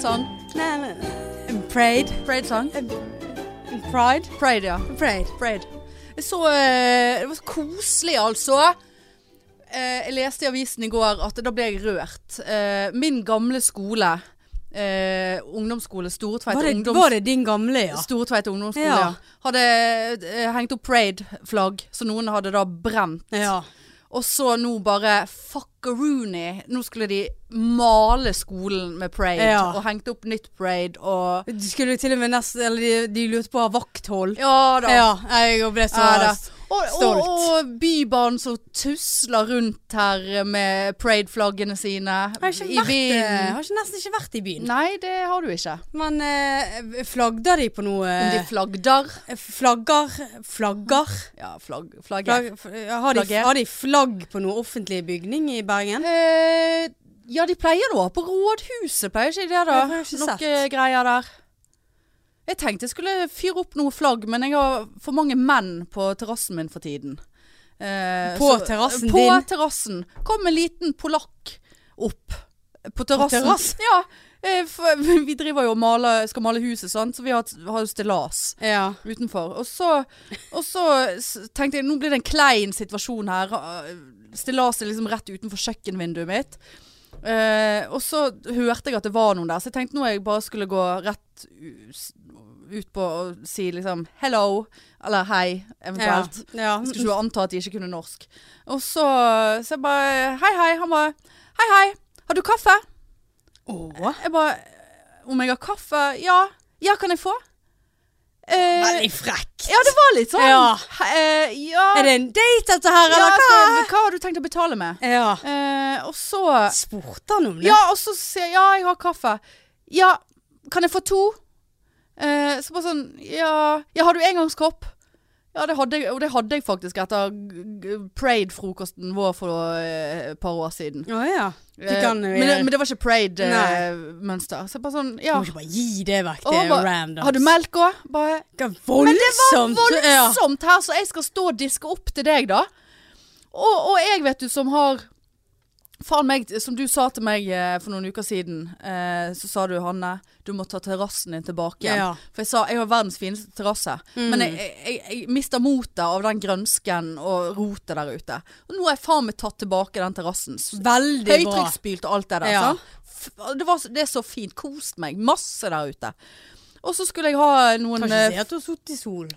song? Nei, men Prayed. Parade song? Pride. Parade, ja. Prayed. Parade. Jeg så eh, Det var så koselig, altså. Eh, jeg leste i avisen i går at da ble jeg rørt. Eh, min gamle skole, eh, ungdomsskole, Stortveit Var det, ungdoms... var det din gamle, ja? Stortveit ungdomsskole, Ja. ja. Hadde eh, hengt opp parade-flagg, så noen hadde da brent. Ja. Og så nå bare fuckaroony. Nå skulle de male skolen med parade, Ja. og hengt opp nytt parade og De skulle til og med nesten Eller de, de lurte på å ha vakthold. Ja da. altså. Ja, jeg ble så Ja da. Og, og, stolt. og bybarn som tusler rundt her med parade-flaggene sine Jeg har, ikke i vært, eh, vinden. har ikke, nesten ikke vært i byen. Nei, det har du ikke. Eh. Men eh, flagger de på noe eh, Om de flagder Flagger Flagger? Ja, flagg, flagger. Flagg, f- har, de, Flagger. har de flagg på noen offentlig bygning i Bergen? Eh, ja, de pleier nå å ha på rådhuset, pleier ikke de det da? Jeg har ikke sett. Noe eh, greier der. Jeg tenkte jeg skulle fyre opp noe flagg, men jeg har for mange menn på terrassen min for tiden. Eh, På terrassen på din? terrassen. Kom en liten polakk opp på terrassen. terrassen? Ja, eh, for, vi driver jo og maler, skal male huset, sant? så vi har, har jo stillas Ja. utenfor. Og så, og så s- tenkte jeg nå blir det en klein situasjon her. Stillaset liksom rett utenfor kjøkkenvinduet mitt. Eh, og så hørte jeg at det var noen der, så jeg tenkte nå jeg bare skulle gå rett u- s- ut på og si liksom hello, eller hei, Ja. eventuelt. ja. Jeg skulle ikke anta at de ikke kunne norsk. Og så, så jeg bare hei, hei. Han bare hei, hei. Har du kaffe? Åh. Jeg bare om jeg har kaffe? Ja. Ja, kan jeg få? Eh, Veldig frekt. ja, det var litt sånn. Ja. Eh, ja. Er det en date, dette her, ja, eller skal, hva? hva har du tenkt å betale med? Ja. Eh, og så Spurte han om det? Ja, og så sier jeg ja, jeg har kaffe. Ja, kan jeg få to? Eh, så bare sånn Ja, ja har du engangskopp? Ja, det hadde jeg, og det hadde jeg faktisk etter g- g- parade-frokosten vår for eh, et par år siden. Å ja. Du Eh, kan jo men, det- men det var ikke Nei. parade-mønster. så bare sånn Ja. Må ikke bare gi det vekk Og han til bare, randoms. Har du melk òg? Bare Hva voldsomt! Ja. voldsomt her, så jeg skal stå og diske opp til deg, da. Og, og jeg, vet du, som har Faen meg, som du sa til meg eh, for noen uker siden, eh, så sa du Hanne, du må ta terrassen din tilbake igjen. Ja. Mm. For jeg sa jeg har verdens fineste terrasse, men jeg, jeg, jeg, jeg mister motet av den grønsken og rotet der ute. Og nå har jeg faen meg tatt tilbake den terrassen. S- Veldig bra. Høytrykksspylt og alt det der. Ja. sant? F- Det, var, så- det er så fint. Kost meg masse der ute. Og så skulle jeg ha noen Kan ikke eh, si at du har sittet i sol.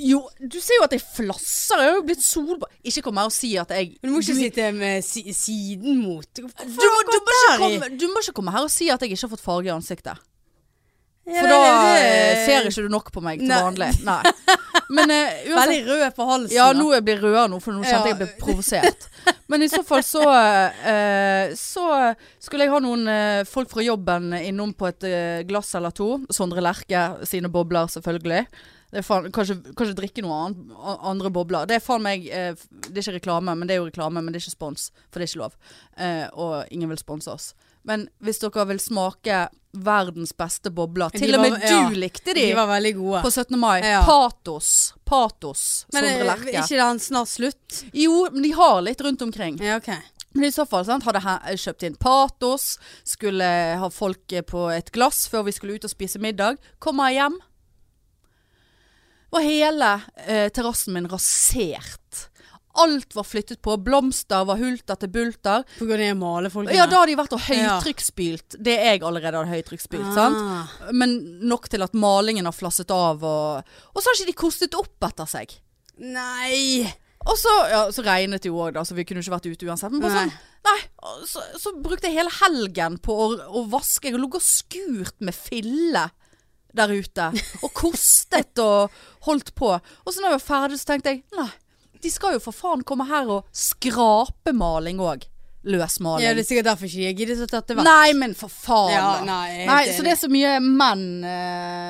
jo, du ser jo at jeg flasser. Jeg har jo blitt solbrent. Ikke kom her og si at jeg Men du må ikke sitte med si siden mot. Du, du, må, du, må ikke komme, du må ikke komme her og si at jeg ikke har fått farge i ansiktet. For da eh, ser ikke du nok på meg til Nei. vanlig. Nei. Men eh, uansett Veldig rød på halsen. Ja, da. nå jeg blir rødere nå, for nå kjente jeg jeg ble provosert. Men i så fall så eh, Så skulle jeg ha noen eh, folk fra jobben innom på et eh, glass eller to. Sondre Lerche sine bobler, selvfølgelig. Det er faen, kanskje, kanskje drikke noe annet, a- andre bobler. Det er faen meg eh, f- Det er ikke reklame, men det er jo reklame, men det er ikke spons. For det er ikke lov. Eh, og ingen vil sponse oss. Men hvis dere vil smake verdens beste bobler, De til og var- med du ja. likte de, De var veldig gode. på 17. mai. Ja. Patos. Patos. Men Sondre er Lerche. ikke den snart slutt? Jo, men de har litt rundt omkring. Ja, ok. Men i så fall sant, hadde he- kjøpt inn patos, skulle ha folk eh, på et glass før vi skulle ut og spise middag. Kommer jeg hjem, var hele eh, terrassen min rasert. Alt var flyttet på. Blomster var hulter til bulter. På grunn av å male folk. Ja, da hadde de vært og Ja. høytrykksspylt. Det jeg allerede hadde høytrykksspylt, sant? Ah. Men nok til at malingen har flasset av og Og så har ikke de kostet opp etter seg. Nei! Og så, ja, så regnet det jo òg, da, så vi kunne ikke vært ute uansett. Men bare Nei. sånn, nei, og så, så brukte jeg hele helgen på å, å vaske. Jeg lå og skurt med fille der ute. Og kostet og holdt på. Og så når jeg var ferdig, så tenkte jeg nei, de skal jo for faen komme her og skrape maling òg. Løsmaling. Ja, det er sikkert derfor ikke jeg gidder å ta det vekk. Nei, men for faen. Ja, da. nei, jeg er helt Nei, så enig. det er så mye menn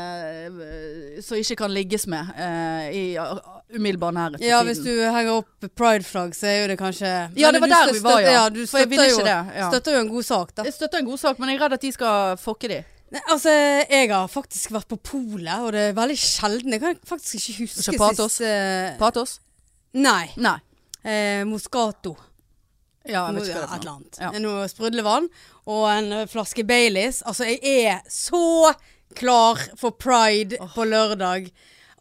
eh, som ikke kan ligges med eh, i uh, umiddelbar nærhet. for Ja, tiden. hvis du henger opp pride-flagg, så er jo det kanskje Ja, det Men var du der støtter- vi var, ja. ja du For jeg ville støtter, jo, ikke det, ja. støtter jo en god sak, da. Jeg støtter en god sak, men jeg er redd at de skal fokke de. Nei, altså, jeg har faktisk vært på polet, og det er veldig sjelden. Jeg kan faktisk ikke huske Ikke Patos? sist eh, Patos? Nei. Nei. Eh, Moscato. Ja, jeg Noe, vet ikke hva et det er. eller for noe. annet. Ja. Noe sprudlevann og en eh, flaske Baileys. Altså, jeg er så klar for pride på lørdag.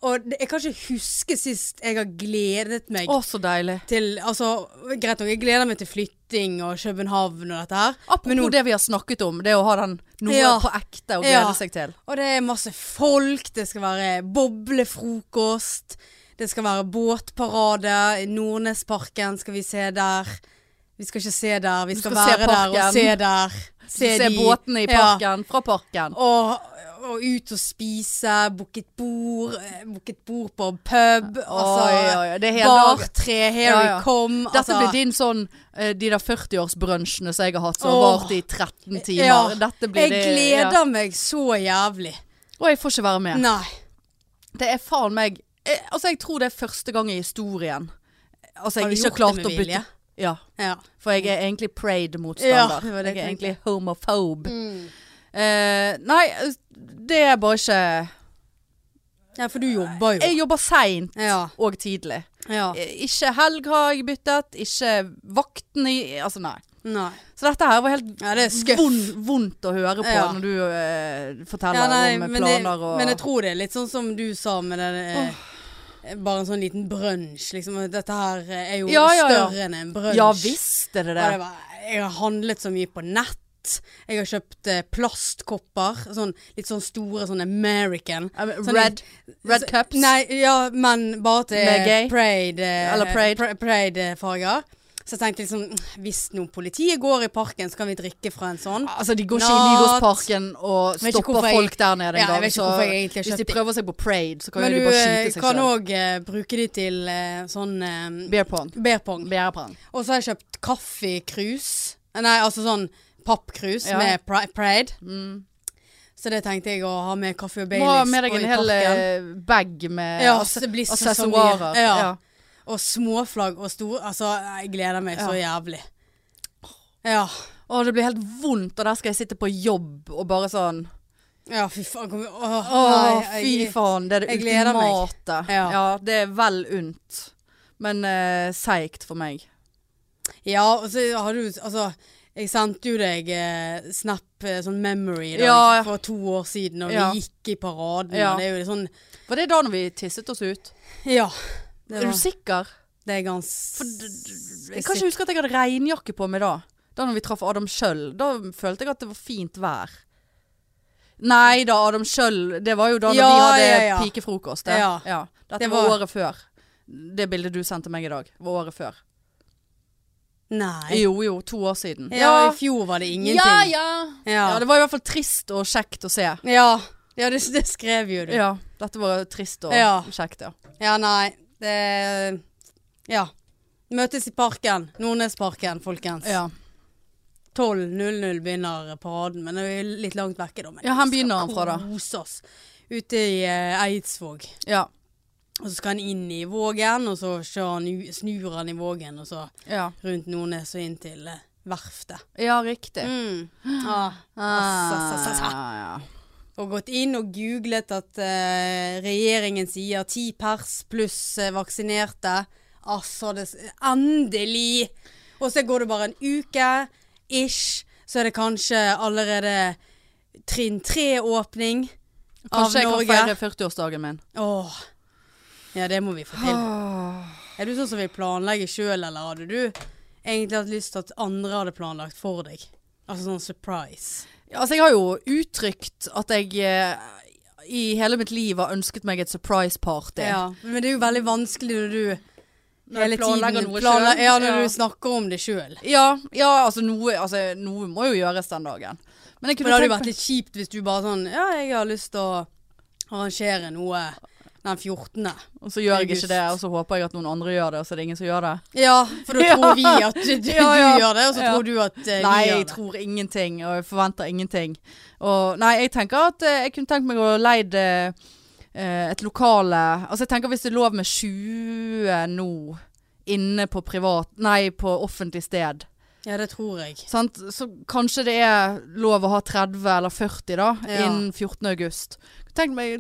Og det, jeg kan ikke huske sist jeg har gledet meg Å, så deilig. til Altså, greit nok, jeg gleder meg til flytting og København og dette her. Apropos nå- det vi har snakket om, det å ha den noe Ja. på ekte å glede Ja. seg til. Og det er masse folk, det skal være boblefrokost, det skal være båtparade, Nordnesparken skal vi se der. Vi skal ikke se der, vi skal, skal se være der og parken. se der. Se, de- båtene i Ja. parken, fra parken. Og, og ut og spise, booke et bord, eh, booke et bord på pub. Oi, altså, oi, oi, det er hele dagen. bartre, here Ja, ja. we come. Dette altså, blir din sånn eh, De der 40-årsbrunsjene som jeg har hatt, som har Åh. vart i 13 timer. ja, Dette blir Jeg det, gleder ja. meg så jævlig. Og jeg får ikke være med. Nei. Det er faen meg eh, Altså, jeg tror det er første gang i historien. Altså, Har jeg du ikke har gjort klart det å med bytte vilje? Ja. Ja. For jeg er egentlig Prade-motstander. Ja, det var det jeg er jeg tenkte. Mm. egentlig homophobe. Eh, nei, det er bare ikke ja, for du jobber jo. Jeg jobber seint Ja. og tidlig. ja. Eh, Ikke helg har jeg byttet, ikke vakten i Altså, nei. Nei. Så dette her var helt Ja, det er skuff. vond, vondt å høre på Ja. når du eh, forteller Ja, nei, om men, det, planer og men jeg tror det er litt sånn som du sa med den eh, Bare en sånn liten brunsj, liksom. og Dette her eh, er jo Ja, ja, ja. større enn en brunsj. Ja visst er det det. Og det var, jeg har handlet så mye på nett. Jeg har kjøpt eh, plastkopper. Sånn, litt sånn store, sånn American. Ja, men Sånn red, red Så- cups. Nei, ja, men bare Med til gay? parade, eh, Eller parade? pra- parade-farger. så jeg tenkte liksom Hvis noen politiet går i parken, så kan vi drikke fra en sånn. Altså, de går ikke i Natt. Nygårdsparken og Vet ikke stopper hvorfor jeg- folk der nede en Ja, jeg gang. vet ikke så hvorfor jeg egentlig har hvis de kjøpt de. prøver seg på parade, så kan Men jo du de bare skyte eh, seg kan selv. òg bruke de til eh, sånn eh, Beer pong. beer pong. Beer pong. Og så har jeg kjøpt kaffekrus. Eh, Nei, altså sånn pappkrus Ja. Mm. med pri pride. Så det tenkte jeg å ha med kaffe og Må ha med Baileys deg på en i hel parken. eh, bag med Ja, ass- det blir så- så accessoarer. mye. Ja. Ja. Og småflagg og stor Altså, jeg gleder meg så jævlig. Ja. Å, det blir helt vondt, og der skal jeg sitte på jobb og bare sånn Ja, fy faen. kom- Åh, Å, nei, fy jeg- faen. Det er det jeg gleder meg. ultimate. Ja. Ja. det er vel unt. Men uh, seigt for meg. Ja, og så har du Altså, jeg sendte jo deg eh, snap eh, sånn memory da, Ja. for to år siden, og Ja. vi gikk i paraden. Ja. Og det er jo litt sånn Var det da når vi tisset oss ut? Ja. Det, Er du var, sikker? det er For ganske d- d- jeg kan ikke huske at jeg hadde regnjakke på meg da. Da når vi traff Adam Schjøll. Da følte jeg at det var fint vær. Nei da, Adam Schjøll Det var jo da når Ja, vi hadde ja, ja. pikefrokost. Det. Ja. Dette Det var var- året før. Det bildet du sendte meg i dag, var året før. Nei. Jo jo, to år siden. Ja, i fjor var det ingenting. Ja, ja. Ja. Ja, det var i hvert fall trist og kjekt å se. Ja. Ja, det, det skrev jo du. Ja, Ja, dette var trist og Ja. kjekt, ja. nei. Det Ja. Møtes i parken. Nordnesparken, folkens. ja. 12.00 begynner paraden, men det er jo litt langt vekke, da. Men Ja, han vi skal begynner han fra da. Kose oss ute i eh, Eidsvåg. Ja. Og så skal han inn i Vågen, og så kjører han, u- snur han i Vågen, og så Ja, rundt Nordnes og inn til eh, verftet. ja riktig. Mm. Ah. Ah, Sa, sa, sa, sa. ja. Og gått inn og googlet at eh, regjeringen sier 10 pers pluss eh, vaksinerte. Altså, det, s- endelig! Og så går det bare en uke, ish, så er det kanskje allerede trinn tre-åpning av Kanskje jeg kan Norge. feire 40-årsdagen min. Åh. Ja, det må vi få til. Ah. Er du sånn som vil planlegge sjøl, eller hadde du egentlig hatt lyst til at andre hadde planlagt for deg? Altså sånn surprise. Ja, altså, jeg har jo uttrykt at jeg eh, i hele mitt liv har ønsket meg et surprise party. Ja, men det er jo veldig vanskelig når du Når jeg hele planlegger tiden noe planla- selv. Ja, når Ja. du snakker om det sjøl. Ja, ja, altså, noe, altså noe må jo gjøres den dagen. Men jeg Men det hadde jo tenkt vært litt kjipt hvis du bare sånn Ja, jeg har lyst til å arrangere noe den 14. meg- Og så gjør jeg august. ikke det, og så håper jeg at noen andre gjør det, og så er det ingen som gjør det. Ja, for da Ja. tror vi at du, du, Ja, ja. gjør det, og så Ja. tror du at Nei, eh, vi gjør jeg det. tror ingenting, og jeg forventer ingenting. Og, nei, jeg tenker at eh, jeg kunne tenkt meg å leid eh, eh, et lokale Altså, jeg tenker hvis det er lov med 20 nå inne på privat Nei, på offentlig sted. Ja, det tror jeg. Sant? Så kanskje det er lov å ha 30 eller 40 da, Ja. innen 14. august. Tenk, meg,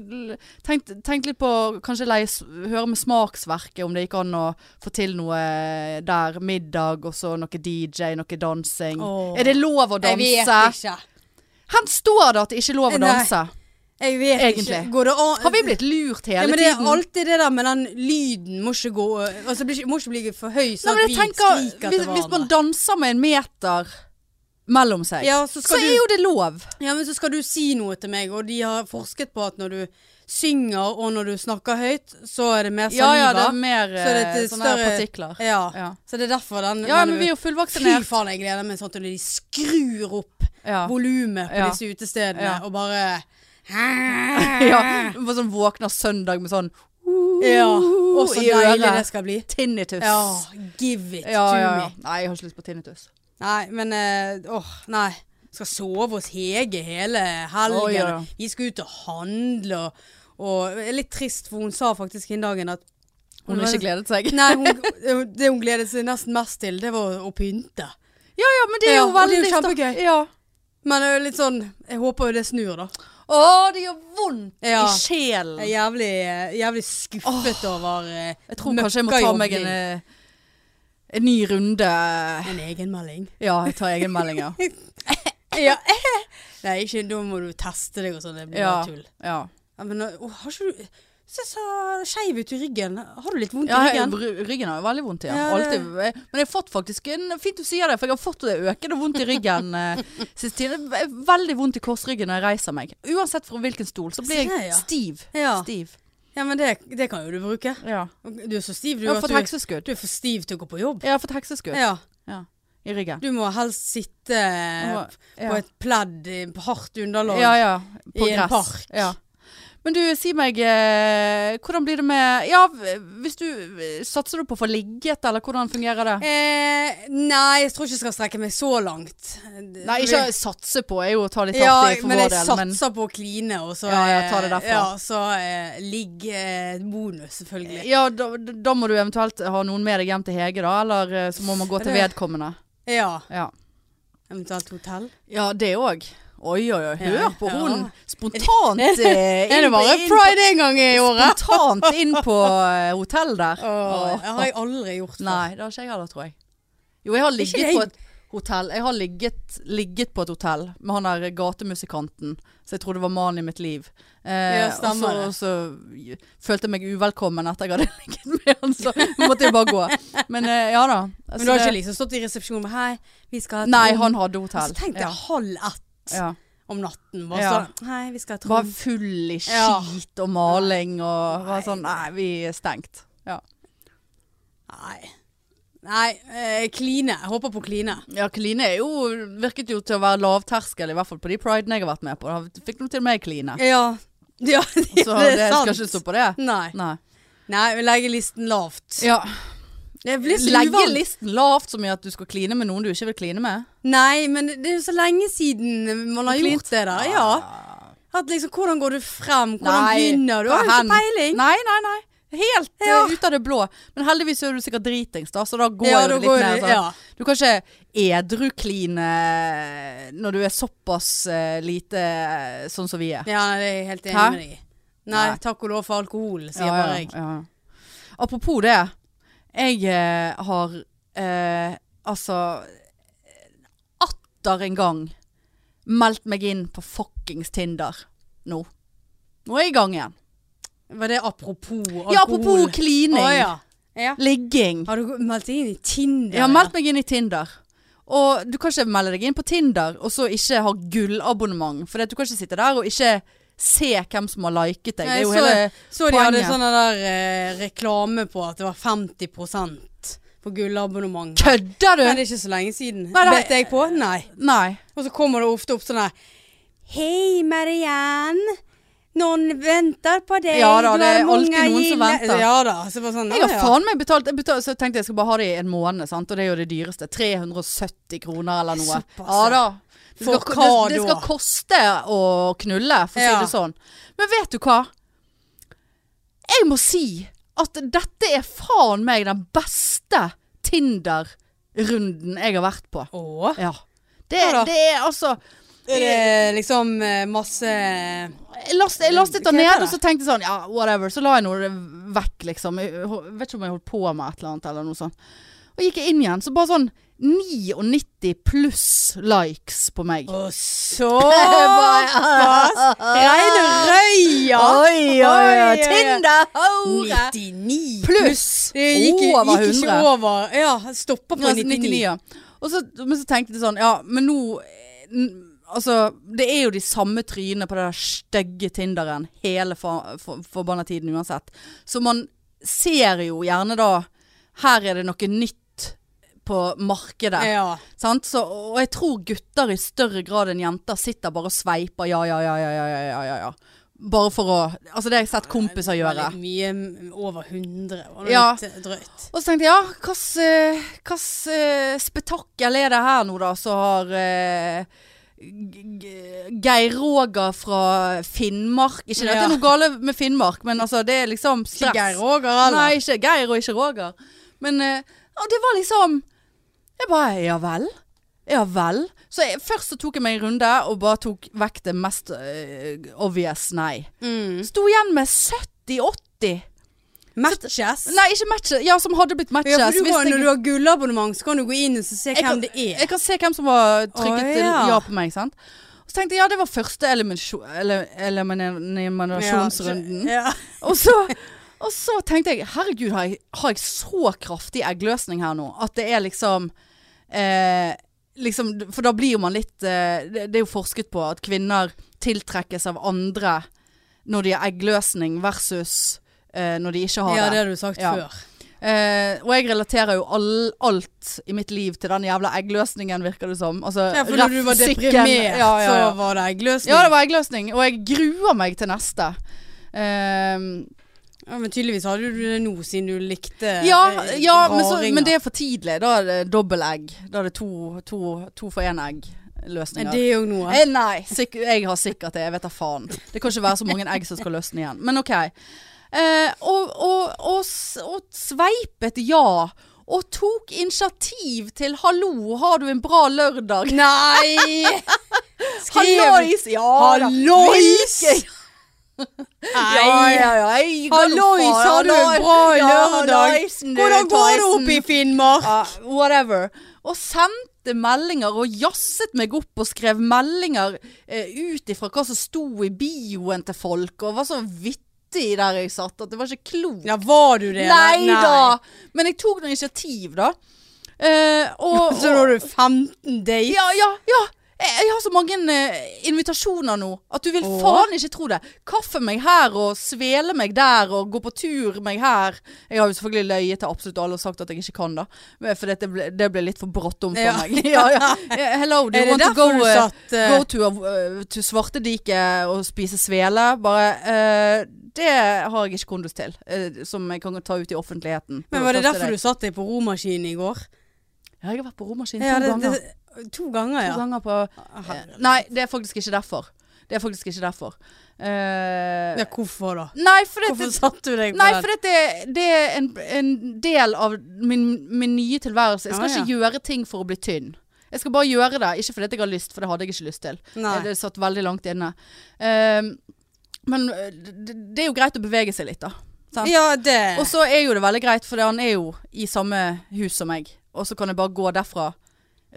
tenk, tenk litt på kanskje leie, s- høre med smaksverket om det gikk an å få til noe der. Middag og så noe DJ, noe dansing. Åh. Er det lov å Jeg vet danse? ikke. Her står det at det ikke er lov å Nei. danse. Jeg vet Egentlig. ikke. Går det an Har vi blitt lurt hele ja, men Det tiden? er alltid det der med den lyden må ikke gå Altså blir ikke- må ikke bli for høy, Nei, sånn men jeg at vi tenker, skriker hvis, til hvis man hverandre. danser med en meter mellom seg, Ja, så så skal er du jo det lov. Ja, men så skal du si noe til meg, og de har forsket på at når du synger og når du snakker høyt, så er det mer Ja, saliva. ja, det er mer Altså, så det er eh, til sånne her større- partikler. ja. Ja. Så det er derfor den Ja, den men vi er jo Fy fullvaksinert. faen, jeg gleder meg sånn til når de skrur opp Ja. volumet på Ja. disse utestedene Ja. og bare ja. Bare sånn våkner søndag med sånn Ja. Og så i deilig øret. det skal bli. tinnitus. Ja. Give it ja, to ja, ja. me. Nei, jeg har ikke lyst på tinnitus. Nei, men eh, åh, nei. Skal sove hos Hege hele helgen. Å, ja. Vi skal ut og handle og, og jeg er Litt trist, for hun sa faktisk den dagen at Hun har ikke gledet seg. Nei, hun, det hun gledet seg nesten mest til, det var å pynte. Ja, ja, men det er Ja, jo og det veldig er jo sta- kjempegøy. Ja. Men det er jo litt sånn Jeg håper jo det snur, da. Å, det gjør vondt Ja. i sjelen. Jeg er jævlig, eh, jævlig skuffet over eh, Jeg tror kanskje jeg må ta meg en, møkkajobbing. eh, en ny runde. En egenmelding. Ja, jeg tar egenmelding, ja. Ja. Nei, ikke da må du teste deg og sånn. Det blir Ja. bare tull. ja. Ja, men nå- åh, har ikke du Se så skeiv ut i ryggen. Har du litt vondt Ja, i jeg- ryggen? ry- ryggen har jo veldig vondt i ja. Ja, det- Alltid. Men jeg har fått faktisk en, Fint du sier det, for jeg har fått det økende vondt i ryggen eh, siste tiden. Det er Veldig vondt i korsryggen når jeg reiser meg. Uansett fra hvilken stol, så blir Se der, jeg ja. stiv. Ja. Stiv. Ja, men det, det kan jo du bruke. Ja. Du er så stiv du, Jeg har at fått du, hekseskudd. du er for stiv til å gå på jobb. Jeg har fått hekseskudd Ja. ja. i ryggen. Du må helst sitte Ja. Eh, på et pledd i hardt underlag. Ja, ja. På I en gress. park. Ja. Men du, si meg, eh, hvordan blir det med Ja, hvis du eh, Satser du på å få ligget, eller hvordan fungerer det? Eh, nei, jeg tror ikke jeg skal strekke meg så langt. Nei, ikke satse på er jo å ta litt hardt Eh, ja, i for men vår jeg del, men satser på å kline, og så, Ja, ja, eh, ta det derfra. Ja, så eh, ligg eh, bonus, selvfølgelig. Ja, da, da må du eventuelt ha noen med deg hjem til Hege, da. Eller eh, så må man gå til Det- vedkommende. Ja. Ja, Eventuelt hotell. ja det òg. Oi, oi, oi. Hør Ja, på ja. hun. Spontant eh, Er det bare inn på- pride en gang i året? Spontant inn på eh, hotell der. Åh, Åh. det har jeg aldri gjort før. Nei, det har ikke jeg heller, tror jeg. Jo, jeg har ligget det- på et hotell. Jeg har ligget, ligget på et hotell med han der gatemusikanten. Så jeg trodde det var mannen i mitt liv. Eh, Ja, stemmer det. og, så, og så følte jeg meg uvelkommen etter jeg hadde ligget med han, så nå måtte jeg bare gå. Men eh, ja da. Men du Så har ikke det- liksom stått i resepsjonen med Hei, vi skal ha et Nei, rom.» han hadde hotell. Altså, tenk deg ja. halv ett Ja. om natten. Bare Ja. sånn Hei, vi skal ha et Bare rom. full i Ja. skit og maling og var sånn Nei. Nei, vi er stengt. Ja, Nei. Nei, eh, kline. Jeg håper på kline. ja Kline er jo, virket jo til å være lavterskel, i hvert fall på de pridene jeg har vært med på. Da fikk nå til og med Kline. Ja. ja det, Så det, er sant. skal ikke stå på det. Nei. Nei. Nei, vi legger listen lavt. Ja. Det blir så Legge uvant. listen lavt så mye at du skal kline med noen du ikke vil kline med. Nei, men det er jo så lenge siden man har Klint. gjort det der. Ja. Ah. At liksom, hvordan går du frem? Hvordan Nei, begynner du? hva Har jo hen? ikke peiling. Nei, nei, nei. Helt eh, Ja. ut av det blå. Men heldigvis er du sikkert dritings, da, så da går Ja, jo da det litt går mer. det- sånn. ja. Du kan ikke edru-kline når du er såpass eh, lite eh, sånn som vi er. Ja, nei, det er jeg helt enig Hæ? med deg i. Nei, Nei. takk og lov for alkohol, sier Ja, ja, bare jeg. ja. Apropos det. Jeg eh, har eh, altså atter en gang meldt meg inn på fuckings Tinder nå. Nå er jeg i gang igjen. Var det apropos alkohol? Ja, apropos klining. Å, ja. Ja. Ligging. Har du meldt deg inn i Tinder? Jeg har meldt meg inn i Tinder. Og du kan ikke melde deg inn på Tinder og så ikke ha gullabonnement. For du kan ikke sitte der og ikke se hvem som har liket deg. Det er jo så, hele så de hadde poenget. sånn der eh, reklame på at det var 50 på gullabonnement. Kødder Men du?! det er ikke så lenge siden. Nei, nei. Bet jeg på? Nei. Nei. Og så kommer det ofte opp sånn her Hei, Marianne. Noen venter på deg. Ja da, Du det har er alltid mange noen som gilde- venter. Ja da. Så bare sånn, Jeg har «Å, ja. faen meg betalt, jeg betal- Så tenkte jeg skal bare ha det i en måned, sant? og det er jo det dyreste. 370 kroner eller noe. Såpass, Ja da. Det For skal, hva det, det da? skal koste å knulle, for å si Ja. det sånn. Men vet du hva? Jeg må si at dette er faen meg den beste Tinder runden jeg har vært på. Åh. Ja. Det, Ja da. det er altså Er det liksom eh, masse Jeg last- jeg lastet Hva den ned, heter og det? så tenkte jeg sånn Ja, whatever. Så la jeg noe vekk, liksom. Jeg ho- vet ikke om jeg holdt på med et eller annet, eller noe sånt. Og gikk jeg inn igjen, så bare sånn 99 pluss likes på meg. Og så Bare- Reine røya! Oi, oi, oi. Tinder, hore! 99 Pluss! Det gikk, Over gikk ikke 100. over. Ja, stoppa på Ja, 99. 99, ja. Og så, men så tenkte jeg sånn Ja, men nå eh, n- Altså, det er jo de samme trynene på den der stygge Tinderen hele fa- for, forbanna tiden uansett. Så man ser jo gjerne da Her er det noe nytt på markedet. Ja. Sant? Så, og jeg tror gutter i større grad enn jenter sitter bare og sveiper ja, ja, ja, ja, ja, ja, ja, ja, ja. Bare for å Altså, det har jeg sett kompiser Det var gjøre. Litt mye mm, over 100. Og det var Ja. litt drøyt. Og så tenkte jeg, ja, hvilket eh, spetakkel er det her nå da, som har eh, G- G- Geir Roger fra Finnmark Ikke det at det er noe gale med Finnmark, men altså, det er liksom Ikke stress. Geir Roger, Nei, eller? ikke Geir og ikke Roger. Men eh, ja, det var liksom Jeg bare Ja vel? Ja vel? Så jeg, først så tok jeg meg en runde og bare tok vekk det mest eh, obvious nei. Mm. Sto igjen med 70-80. Matches. Nei, ikke matches. Ja, som hadde blitt matches. Ja, for du hvis går, jeg- når du har gullabonnement, så kan du gå inn og så se Jeg hvem kan- det er. Jeg kan se hvem som har trykket Å, til ja. ja på meg, sant? Og så tenkte jeg, ja, det var første eliminasjo- ele- eliminasjonsrunden. Ja. Og, så, og så tenkte jeg, herregud, har jeg, har jeg så kraftig eggløsning her nå? At det er liksom, eh, liksom For da blir jo man litt eh, det, det er jo forsket på at kvinner tiltrekkes av andre når de har eggløsning versus eh, når de ikke Ja. har ja, det har du sagt Ja. før. Eh, og jeg relaterer jo all, alt i mitt liv til den jævla eggløsningen, virker det som. Altså, Ja, for ref, når du var sikken. deprimert, ja, ja, ja. så var det eggløsning. ja, det var eggløsning. Og jeg gruer meg til neste. Eh, Ja, men tydeligvis hadde du det nå, siden du likte ja, eh, ja men, så, raringer. men det er for tidlig. Da er det dobbel egg. Da er det to, to, to for én egg-løsninger. Er det òg noe? Eh, nei, sikk- jeg har sikkert det. Jeg vet da faen. Det kan ikke være så mange egg som skal løsne igjen. Men OK. Eh, og, og, og, s- og sveipet ja. Og tok initiativ til 'hallo, har du en bra lørdag'? Nei! Skrev Hallois! Ja da. Hallois! Hvilke- Ja, ja, ja. jeg går nå Hallois, faen. har du en bra lørdag? halloisen, du, Hvordan går det Theisen. oppe i Finnmark? Ja, Ah, whatever. Og sendte meldinger og jasset meg opp og skrev meldinger eh, ut ifra hva som sto i bioen til folk, og var så vittig der jeg satt at det var ikke klokt. Ja, var du det? Nei da! Men jeg tok noe initiativ, da. Eh, og, Så nå har du 15 dates? ja, ja, ja. Jeg, jeg har så mange eh, invitasjoner nå at du vil Åh. faen ikke tro det. Kaffe meg her og svele meg der og gå på tur meg her. Jeg har jo selvfølgelig løyet til absolutt alle og sagt at jeg ikke kan da. Men- For dette ble, det ble litt for brått om for Ja. meg. Ja, ja. Eh, Hello, do Er you det want to derfor go, du eh, satt eh, go to, uh, to Svartediket og spise svele? Bare eh, Det har jeg ikke kondus til, eh, som jeg kan ta ut i offentligheten. Men var det derfor du satt deg på romaskinen i går? Ja, jeg har vært på romaskinen Ja, to det, ganger. det, to ganger, To ja. ganger på Aha. Eh, Nei, det er faktisk ikke derfor. Det er faktisk ikke derfor. Eh, ja. Hvorfor da? nei, for, Hvorfor det, satt du deg på nei, den? for det, det- det er en, en del av min, min nye tilværelse. Jeg skal Ah, Ja, ja. ikke gjøre ting for å bli tynn. Jeg skal bare gjøre det. Ikke fordi jeg har lyst, for det hadde jeg ikke lyst til. Eh, Nei. Det satt veldig langt inne. Eh, men eh, det, det er jo greit å bevege seg litt, da. sant? Ja, det Og så er jo det veldig greit, for han er jo i samme hus som meg. Og så kan jeg bare gå derfra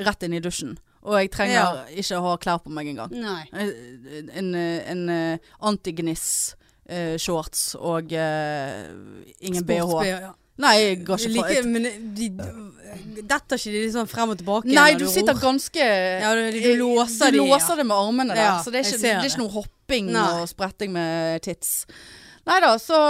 rett inn i dusjen. Og jeg trenger Ja. ikke å ha klær på meg engang. Nei. Eh, en, eh, en eh, antigniss eh, shorts og eh, ingen BH. Sports-BH, ja. Nei, jeg ga ikke Like, faen. men de, de- detter ikke de liksom frem og tilbake? Nei, når du ror? sitter ganske Ja, du, du Eh, låser du de, ja. låser det med armene der, Ja, så det er, jeg ikke, det ser er det. ikke noe hopping Nei. og spretting med tits. Nei da, så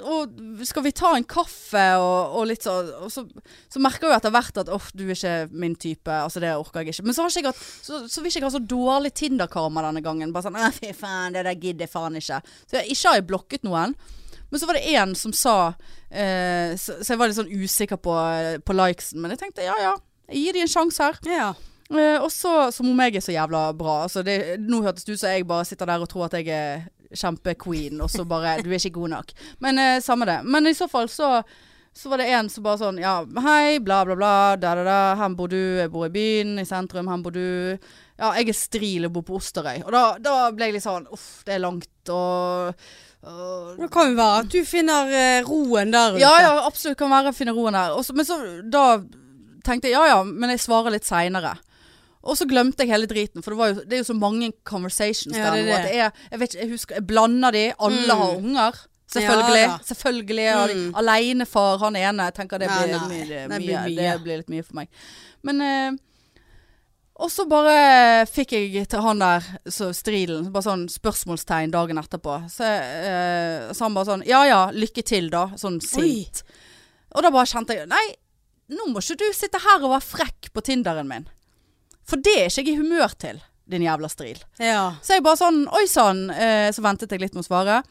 og skal vi ta en kaffe og, og litt så, og så Så merker jeg jo etter hvert at Åh, du er ikke min type. Altså det orker jeg ikke. Men så, har ikke jeg hatt, så, så vil ikke jeg ha så dårlig Tinder-karma denne gangen. Bare sånn «Æ, Fy faen, det der gidder jeg faen ikke. Så jeg, ikke har jeg blokket noen. Men så var det én som sa eh, så, så jeg var litt sånn usikker på, på likesen. Men jeg tenkte ja ja, jeg gir de en sjanse her. Ja. Eh, og så, som om jeg er så jævla bra altså det, Nå hørtes det ut som jeg bare sitter der og tror at jeg er kjempequeen, og så bare Du er ikke god nok. Men eh, samme det. Men i så fall så, Så var det en som bare sånn Ja, hei, bla, bla, bla. Da, da, da. Her bor du. Jeg bor i byen, i sentrum. Her bor du. Ja, jeg er stril og bor på Osterøy. Og da, da ble jeg litt sånn Uff, det er langt og og- Det kan jo være at du finner eh, roen der ute. Ja, ja, absolutt kan være å finne roen her. Og så- men så da tenkte jeg ja ja, men jeg svarer litt seinere. Og så glemte jeg hele driten, for det, var jo, det er jo så mange conversations Ja, der det er nå. At det. det er, jeg, vet ikke, jeg husker, jeg blander de. Alle Mm. har unger. Selvfølgelig. Ja, da. selvfølgelig har de Mm. Alenefar, han ene. Jeg tenker det Nei, blir, nei, mye, det mye, blir mye. Det blir litt mye for meg. Men eh, og så bare fikk jeg til han der så strilen, bare sånn spørsmålstegn dagen etterpå. Så, eh, så han bare sånn Ja ja, lykke til, da. Sånn sint. Og da bare kjente jeg Nei, nå må ikke du sitte her og være frekk på Tinderen min. For det er ikke jeg i humør til, din jævla stril. ja. Så jeg bare sånn Oi sann. Eh, så ventet jeg litt med å svare.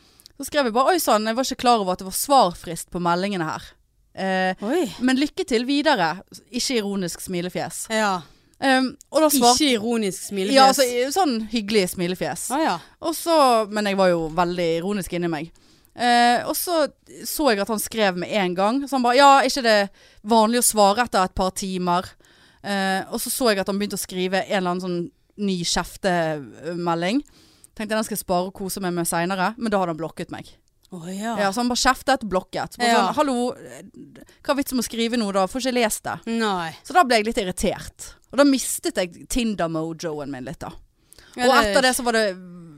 Så skrev jeg bare Oi sann, jeg var ikke klar over at det var svarfrist på meldingene her. Eh, Oi. men lykke til videre. Ikke ironisk smilefjes. Ja. Um, og da svarte Ikke ironisk smilefjes. ja, altså, i- sånn hyggelig smilefjes. ah, ja. Og så, men jeg var jo veldig ironisk inni meg. Eh, og så så jeg at han skrev med en gang. Så han bare Ja, er ikke det vanlig å svare etter et par timer? Eh, og så så jeg at han begynte å skrive en eller annen sånn ny kjeftemelding. Tenkte den skal jeg spare og kose meg med seinere, men da hadde han blokket meg. Å, ja. Ja, Så han bare kjeftet, blokket. Så Bare Ja. sånn, Hallo, hva er vitsen med å skrive nå da? Får ikke lest det. Nei. Så da ble jeg litt irritert. Og da mistet jeg Tinder-mojoen min litt, da. Og etter det så var det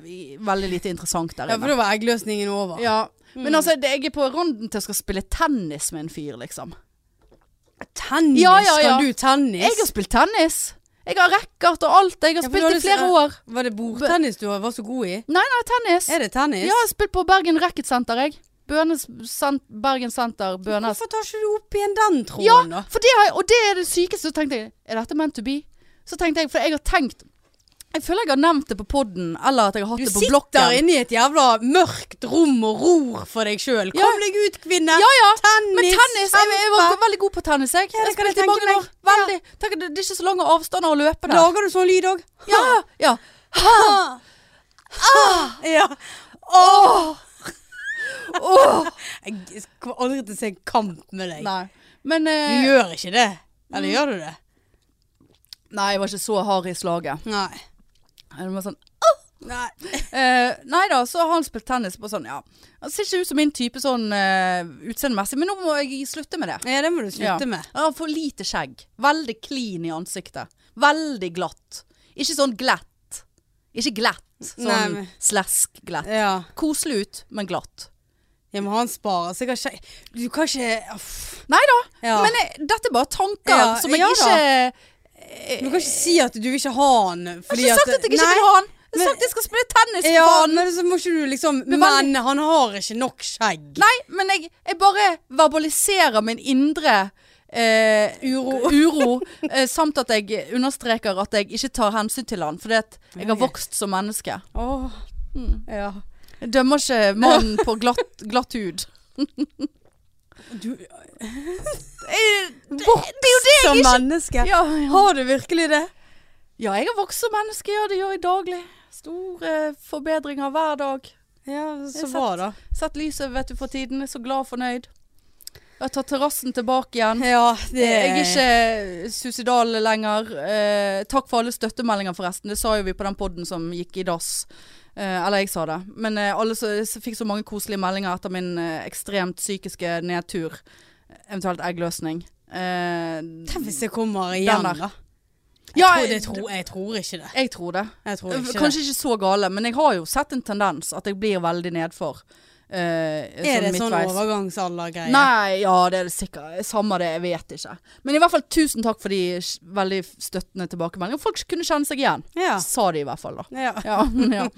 i- veldig lite interessant der Ja, for inne. da var eggløsningen over. Ja. Mm. Men altså, det, jeg er på runden til jeg skal spille tennis med en fyr, liksom. Tennis? Ja, ja, ja. Kan du tennis? Jeg har spilt tennis! Jeg har racket og alt. Jeg har Ja, for spilt du har i lyst- flere år. Var det bordtennis du var så god i? Nei, nei, tennis. Er det tennis? Ja, jeg har spilt på Bergen Racket Center, jeg. Bønes, sent, Bergen Senter, Bønes. Hvorfor tar ikke du opp igjen den Ja, tråden, da? for det har jeg, og det er det sykeste. Så tenkte jeg, er dette meant to be? Så tenkte jeg, for jeg har tenkt Jeg føler jeg har nevnt det på podden, eller at jeg har hatt Du det på sitter blokken. inne i et jævla mørkt rom og ror for deg sjøl. Kom Ja. deg ut, kvinne! Ja, ja. Tennis! Men tennis, jeg, jeg var veldig god på tennis. Jeg, det jeg kan jeg spilte i tenke mange meg. år. Veldig. Tenk, det det er ikke så lange avstander å løpe der. Lager du sånn lyd òg? Ja, ja. Ah. Ja. Åh! Åh! Jeg kommer aldri til å se en kamp med deg. Nei. Mm. Men Du eh, gjør ikke det. Eller gjør du det? Nei, jeg var ikke så hard i slaget. Nei. Det var sånn Nei. Eh, nei da, så har han spilt tennis på sånn, ja. Han ser ikke ut som min type sånn eh, utseendemessig, men nå må jeg slutte med det. Ja, det må du slutte Ja. med. Han har for lite skjegg. Veldig clean i ansiktet. Veldig glatt. Ikke sånn glatt. Ikke glatt. Nei, Sånn men- slask-glatt. Ja. Koselig ut, men glatt. ja, men han sparer sikkert skje... Du kan ikke Uff. Nei da, Ja. men jeg, dette er bare tanker Ja, som jeg ja ikke Du kan ikke si at du vil ikke ha han. Jeg har ikke sagt at jeg ikke vil ha han. Jeg har men- sagt at jeg skal spille tennis for Ja, faen. men så må ikke du liksom Men Men vanlig- han har ikke nok skjegg. Nei, men jeg, jeg bare verbaliserer min indre eh, uro, uro eh, samt at jeg understreker at jeg ikke tar hensyn til han, fordi at jeg har Ok. vokst som menneske. Åh. Mm. Ja. Jeg dømmer ikke mannen på glatt, glatt hud. Du det er jo det jeg som ikke- menneske. Ja, ja. Har du virkelig det? ja, jeg har vokst som menneske, ja, det gjør jeg daglig. Store forbedringer hver dag. Ja, Jeg så har bra, da. Sett lyset vet du, for tiden. Jeg er så glad og fornøyd. Jeg har tatt terrassen tilbake igjen. Ja, det Eh, Jeg er ikke suicidal lenger. Eh, takk for alle støttemeldinger, forresten. Det sa jo vi på den podden som gikk i dass. Eh, eller jeg sa det. Men eh, alle så, så fikk så mange koselige meldinger etter min eh, ekstremt psykiske nedtur. Eventuelt eggløsning. Eh, Tenk hvis jeg kommer igjen, der. da. ja, Tror det, jeg, tror, jeg tror ikke det. jeg tror det. Jeg tror ikke det. Kanskje ikke så gale, men jeg har jo sett en tendens at jeg blir veldig nedfor. eh, Er det sånn midtveis. overgangsaldergreie? Nei, ja det er det sikkert. Samme det, jeg vet ikke. Men i hvert fall tusen takk for de s- veldig støttende tilbakemeldingene. Folk kunne kjenne seg igjen. Ja. Sa de i hvert fall, da. ja. Ja, ja.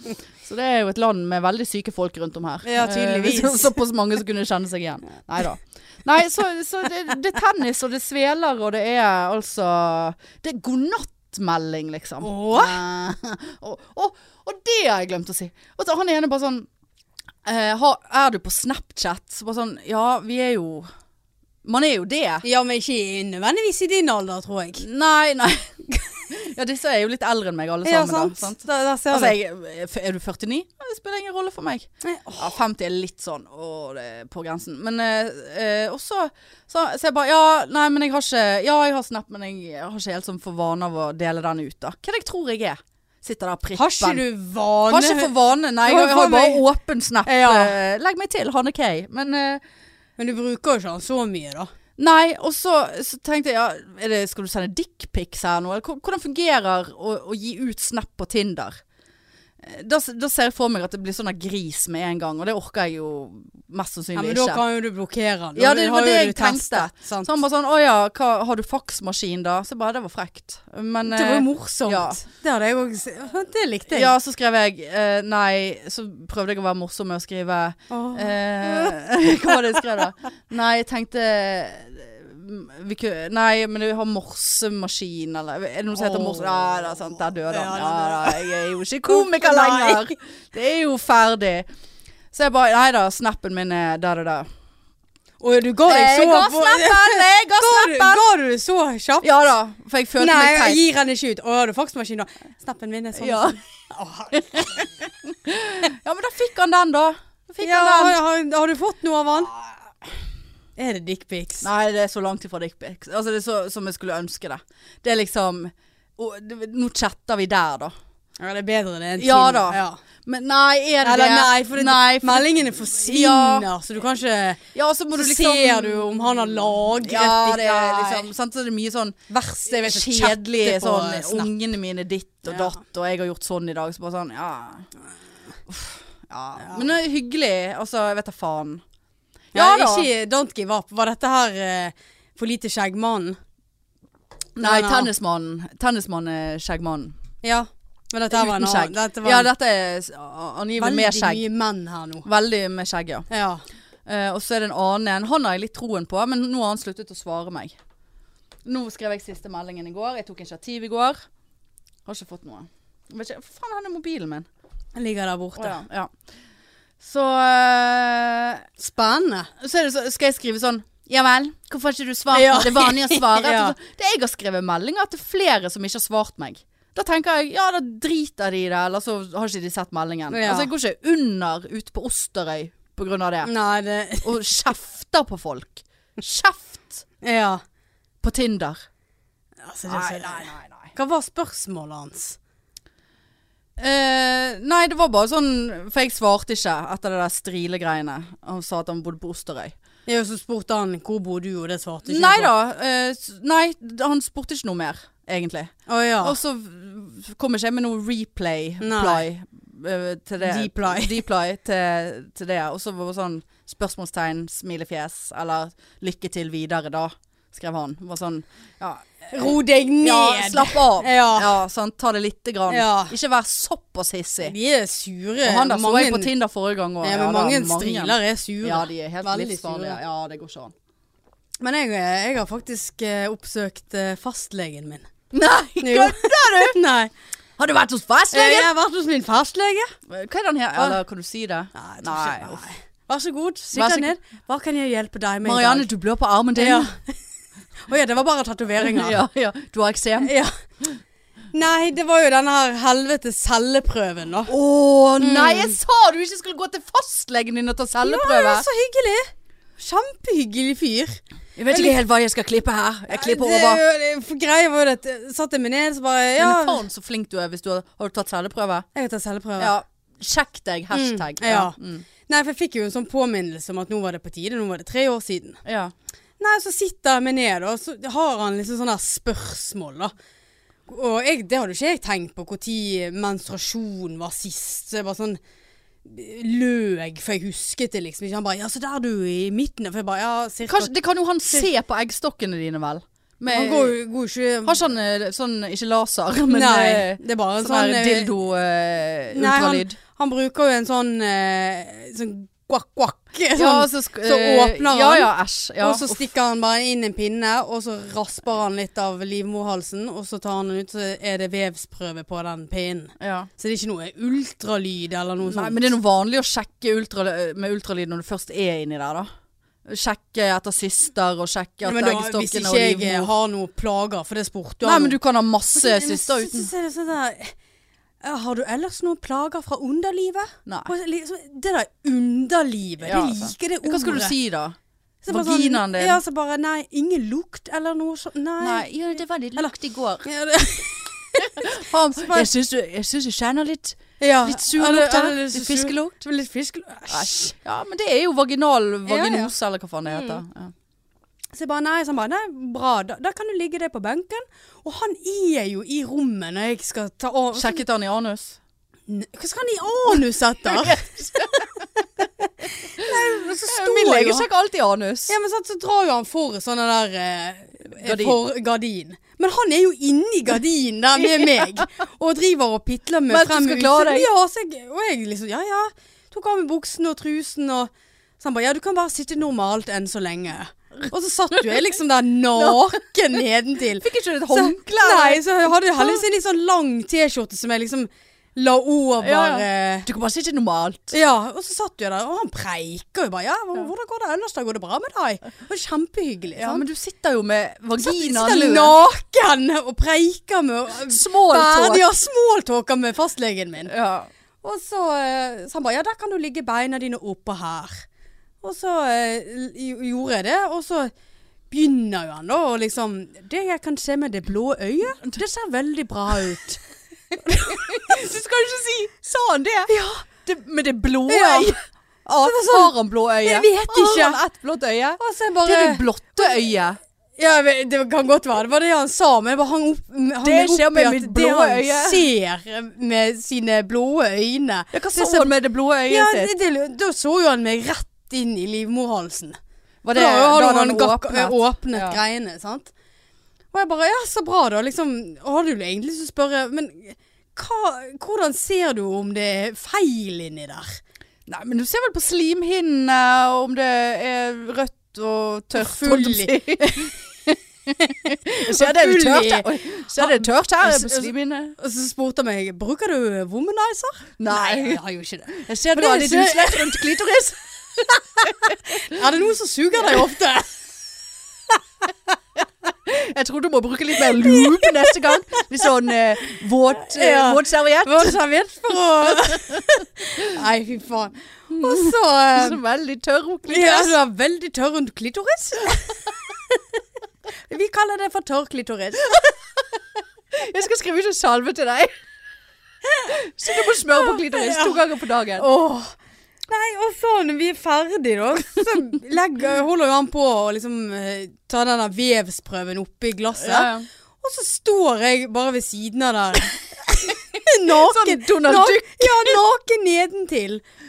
Så det er jo et land med veldig syke folk rundt om her. Ja, tydeligvis. Eh, så- Såpass mange som kunne kjenne seg igjen. Nei da. Nei, så, så det, det er tennis, og det sveler, og det er altså Det er godnattmelding, liksom. Åh. Eh, og, og, og det har jeg glemt å si. Og så han ene bare sånn eh, har, Er du på Snapchat? Så bare sånn Ja, vi er jo Man er jo det. Ja, men ikke nødvendigvis i din alder, tror jeg. Nei, nei. Ja, disse er jo litt eldre enn meg alle Ja, sammen. sant. Da, sant? Der, der ser Altså, du. jeg, er du 49? Ja, Det spiller ingen rolle for meg. Ja, 50 er litt sånn å, det er på grensen. Men eh, eh, også så, så jeg bare Ja, nei, men jeg har ikke Ja, jeg har Snap, men jeg har ikke helt sånn for vane av å dele den ut, da. Hva er det jeg tror jeg er? Sitter der og pripper. Har ikke du vane Har ikke for vane, nei. Du har Jeg, har for bare meg- åpen snap. Ja. Eh, legg meg til, Hanne Kay. Men eh, Men du bruker jo ikke han så mye, da. Nei, og så, så tenkte jeg ja, er det, Skal du sende dickpics her nå? Eller hvor- hvordan fungerer å, å gi ut snap på Tinder? Eh, Da, s- da ser jeg for meg at det blir sånn der gris med en gang, og det orker jeg jo mest Ja, sannsynlig men ikke. da kan jo du blokkere han. Ja, Da det har var jo det du jeg tenkte. testet, sant? Så han bare sånn Å ja, hva, har du faksmaskin da? Så jeg bare Det var frekt. Men Det var jo eh, morsomt. ja. Det hadde jeg òg sett. Det likte jeg. ja, så skrev jeg eh, nei. Så prøvde jeg å være morsom med å skrive Åh. eh, Hva var det jeg skrev da? Nei, jeg tenkte eh, vi kunne, Nei, men vi har morsemaskin, eller Er det noe som heter morse... Ja, det er sant, der døde han. Ja, da, jeg er jo ikke komiker Nei. lenger. Det er jo ferdig. Så jeg bare Nei da, snappen min er der og der. Å, du ga deg så ga på snappen! Jeg ga Ga du- snappen! Ga du det så kjapt? Ja da, for jeg følte Nei, meg jeg teit. gir han ikke ut. Å, har du faksmaskin da? Snappen min er sånn. Ja. ja, men da fikk han den, da. Da fikk Ja, han har, den. har, har du fått noe av han? Er det dickpics? Nei, det er så langt ifra dickpics. Altså, det er så som jeg skulle ønske det. Det er liksom å, det, Nå chatter vi der, da. Ja, det er bedre det enn Ja Tinder. da. Men nei, er det Eller det? nei, for det, Nei, for- meldingene forsvinner, så du kan ikke Ja, så må du liksom Ser du om han har lagret Ja, det er ditt- liksom sant? Så det er mye sånn verste jeg vet å chatte kjedelig på sånn Snap. Ungene mine ditt og Ja. datt, og jeg har gjort sånn i dag. Så bare sånn, ja. Uff, ja. Men det er hyggelig. Altså, jeg vet da faen. Ja, Ja, da. ikke Don't Give Up. Var dette her eh, for lite skjeggmannen? Nei, Nei, nei. tennismannen. Tennismannen er skjeggmannen. Ja. Men dette her var en Uten skjegg. annen. Dette ja, var dette er s- a- angivelig med veldig skjegg. mye menn her nå. Veldig med skjegg, ja. Ja. Eh, og så er det en annen en. Han har jeg litt troen på, men nå har han sluttet å svare meg. Nå skrev jeg siste meldingen i går. Jeg tok initiativ i går. Har ikke fått noe. Jeg Vet ikke, Hvor faen er det mobilen min? Han ligger der borte. Å, ja. Ja. Så, eh, Spennende. så, er det så skal jeg skrive sånn Ja vel, hvorfor har ikke du svart? Ja. Det er vanlig å svare. Ja. Det jeg har skrevet meldinger til flere som ikke har svart meg. Da tenker jeg ja, da driter de i det, eller så har ikke de sett meldingen. Ja. Altså, jeg går ikke under ute på Osterøy på grunn av det. Nei, det Og kjefter på folk. Kjeft Ja. på Tinder. Altså, det er så- nei, nei. Hva var spørsmålet hans? Eh, nei, det var bare sånn For jeg svarte ikke etter det der strilegreiene. Han sa at han bodde på Osterøy. Jeg og så spurte han hvor bor du, og det svarte ikke Nei han på. da. eh, s- nei, d- han spurte ikke noe mer, egentlig. Å ja. Og så v- kom ikke jeg med noe replay-ply Ah. Nei. til det. Deply. Deply til, til det. Og så var det sånn spørsmålstegn, smilefjes, eller 'lykke til videre', da, skrev han. Det Var sånn Ja, Ro deg ned! ja slapp av. Ja. Ja, sant. Ta det lite grann. Ja. Ikke vær såpass hissig. De er sure. Og han der så Mange- jeg på Tinder forrige gang òg. Ja, men mange striler er sure. Ja, de er helt Veldig livsfarlige. sure. Ja, det går ikke an. Men jeg, jeg har faktisk eh, oppsøkt eh, fastlegen min. Nei, du?! Nei. Har du vært hos Jeg fastlegen? har vært hos min fastlege. Hva er den her? Ah. Eller kan du si det? Nei, jeg tror Nei, ikke- uff. Vær så god, sitt Vær så deg ned. Hva kan jeg hjelpe deg med Marianne, i dag? du blør på armen din. Ja. Å ja, det var bare tatoveringer. ja, ja. Du har eksem. Ja. Nei, det var jo denne her helvetes celleprøven, da. Å nei, jeg sa du ikke skulle gå til fastlegen din og ta Det celleprøve. var så hyggelig. Kjempehyggelig fyr. jeg vet ikke helt hva jeg skal klippe her. Jeg klipper Det- over. det- for Greia var jo det at satt jeg meg ned, så bare Ja. Ja, faen så flink du er hvis du har, har du tatt celleprøve. jeg tar celleprøve. Ja. Sjekk deg, hashtag. Mm, ja. Mm. Nei, for jeg fikk jo en sånn påminnelse om at nå var det på tide. Nå var det tre år siden. ja. Nei, så sitter jeg meg ned, og så har han liksom sånne her spørsmål, da. Og jeg, det hadde jo ikke jeg tenkt på når menstruasjon var sist. Så jeg bare sånn løg, for jeg husket det liksom ikke. Han bare 'Ja, så der er du i midten'. For jeg bare 'Ja, cirka Kanskje, det kan jo han se på eggstokkene dine, vel. Med, Han går jo går jo ikke Har ikke han eh, sånn, ikke laser, men Nei, eh, det er eh, bare en sånn, sånn, her eh, Nei, han, dildo-ultralyd? han bruker jo en sånn eh, sånn guakk-guakk. Sånn, så, sk- så eh, åpner Ja, han, ja, æsj. Ja. Og så stikker han bare inn en pinne, og så rasper han litt av livmorhalsen, og så tar han den ut, så er det vevsprøve på den pinnen. ja. Så det er ikke noe ultralyd eller noe Nei, sånt. eh, men det er noe vanlig å sjekke ultra, med ultralyd når du først er inni der, da. Sjekke etter syster og sjekke Men at da, hvis eggstokkene og ikke jeg livmor har noen plager, for det spurte Nei, om. men du kan ha masse Men så- syster så- uten så er det sånn der, eh, Har du ellers noen plager fra underlivet? Nei. Og liksom, Det der underlivet, Ja, det sant. liker det ordet. Hva skal du si da? Så bare sånn- Vaginaen din? Ja, så bare Nei, ingen lukt eller noe sånt. Nei. ja, det var litt lukt i går. Ja, det, Jeg syns du, jeg syns du kjenner litt, ja. litt sur Eller- lukt her. eller Litt sur- fiskelukt. Litt fiskelukt. Æsj. Æsj. Ja, men det er jo vaginal Ja, ja. vaginose, eller hva faen det heter. Ja. Så jeg bare nei, så han bare nei, bra, da, da kan du ligge deg på benken. Og han er jo i rommet når jeg skal ta av Sjekket han i anus? N- Hva skal han i anus etter? nei, så sto Min jeg lege jo sjekker alltid anus. Ja, men sant, så drar jo han for sånne der eh, Gardin. For gardin. Men han er jo inni gardinen der med meg, og driver og pitler med Men at du frem skal klare deg. Ja, så jeg, og jeg liksom, ja ja. Tok av meg buksen og trusen og Så han bare, ja du kan bare sitte normalt enn så lenge. Og så satt jo jeg liksom der naken nedentil. Fikk ikke du et Så- håndkle? Nei, så jeg hadde jeg heldigvis en litt sånn lang T-skjorte som jeg liksom la over Ja, ja. eh, Du kan bare sitte normalt. ja, og så satt jeg der, og han preiker jo bare. Ja, hvor- hvordan går det ellers? da? Går det bra med deg? Det var kjempehyggelig. Ja, sant? men du sitter jo med vaginaen Sitter løs. naken og preiker med Smalltalk. Ja, småtalker med fastlegen min. Ja. Og så, eh, så han bare, ja, der kan du ligge beina dine oppå her. Og så eh, l- gjorde jeg det, og så begynner jo han da, og liksom, det jeg kan se med det blå øyet, det ser veldig bra ut. Du skal jo ikke si Sa han det? Ja, det med det blå Ja. øyet? Ja, sånn- har han blå øye? Jeg vet ikke. Har han ett blått øye? og så jeg Det bare... er det blotte øyet. Ja, jeg vet- det kan godt være. Det var det han sa, men jeg bare hang opp, hang Det meg opp skjer med i at mitt det blå han øye. ser med sine blå øyne Ja, hva Det så ser- han med det blå øyet ja, sitt? det, det, Da så jo han meg rett inn i livmorhalsen. Var da hadde hadde han gakk- eh, åpnet Ja. greiene, sant. Og jeg bare Ja, så bra, da. Liksom, og hadde jo egentlig lyst til å spørre, men hva, hvordan ser du om det er feil inni der? Nei, men du ser vel på slimhinnene om det er rødt og tørt. Full holdt jeg på å si. Ser det er Full i- tørt her? Oi, Ser det er tørt her på Altså, slimhinnene? Og så spurte han meg bruker du womanizer. Nei. jeg har jo ikke det. Jeg ser Men du det har er litt ikke- utslett rundt klitoris. Er det noen som suger deg ofte? Jeg tror du må bruke litt mer loop neste gang. Litt sånn eh, våt, eh, Ja. våt serviett. Hva sa vi for å Nei, fy faen. Og så eh, Så sånn veldig tørr og Ja, klitoris. du har veldig tørr rundt klitoris. Vi kaller det for tørr klitoris. Jeg skal skrive ut en salve til deg. Så du må smøre på klitoris to ganger på dagen. Åh. Nei, og så når vi er ferdig, da, så legger, holder jo han på å liksom eh, ta denne vevsprøven oppi glasset. Ja, ja. Og så står jeg bare ved siden av der. naken. Sånn Donald nak- Duck. Ja, naken nedentil. Og-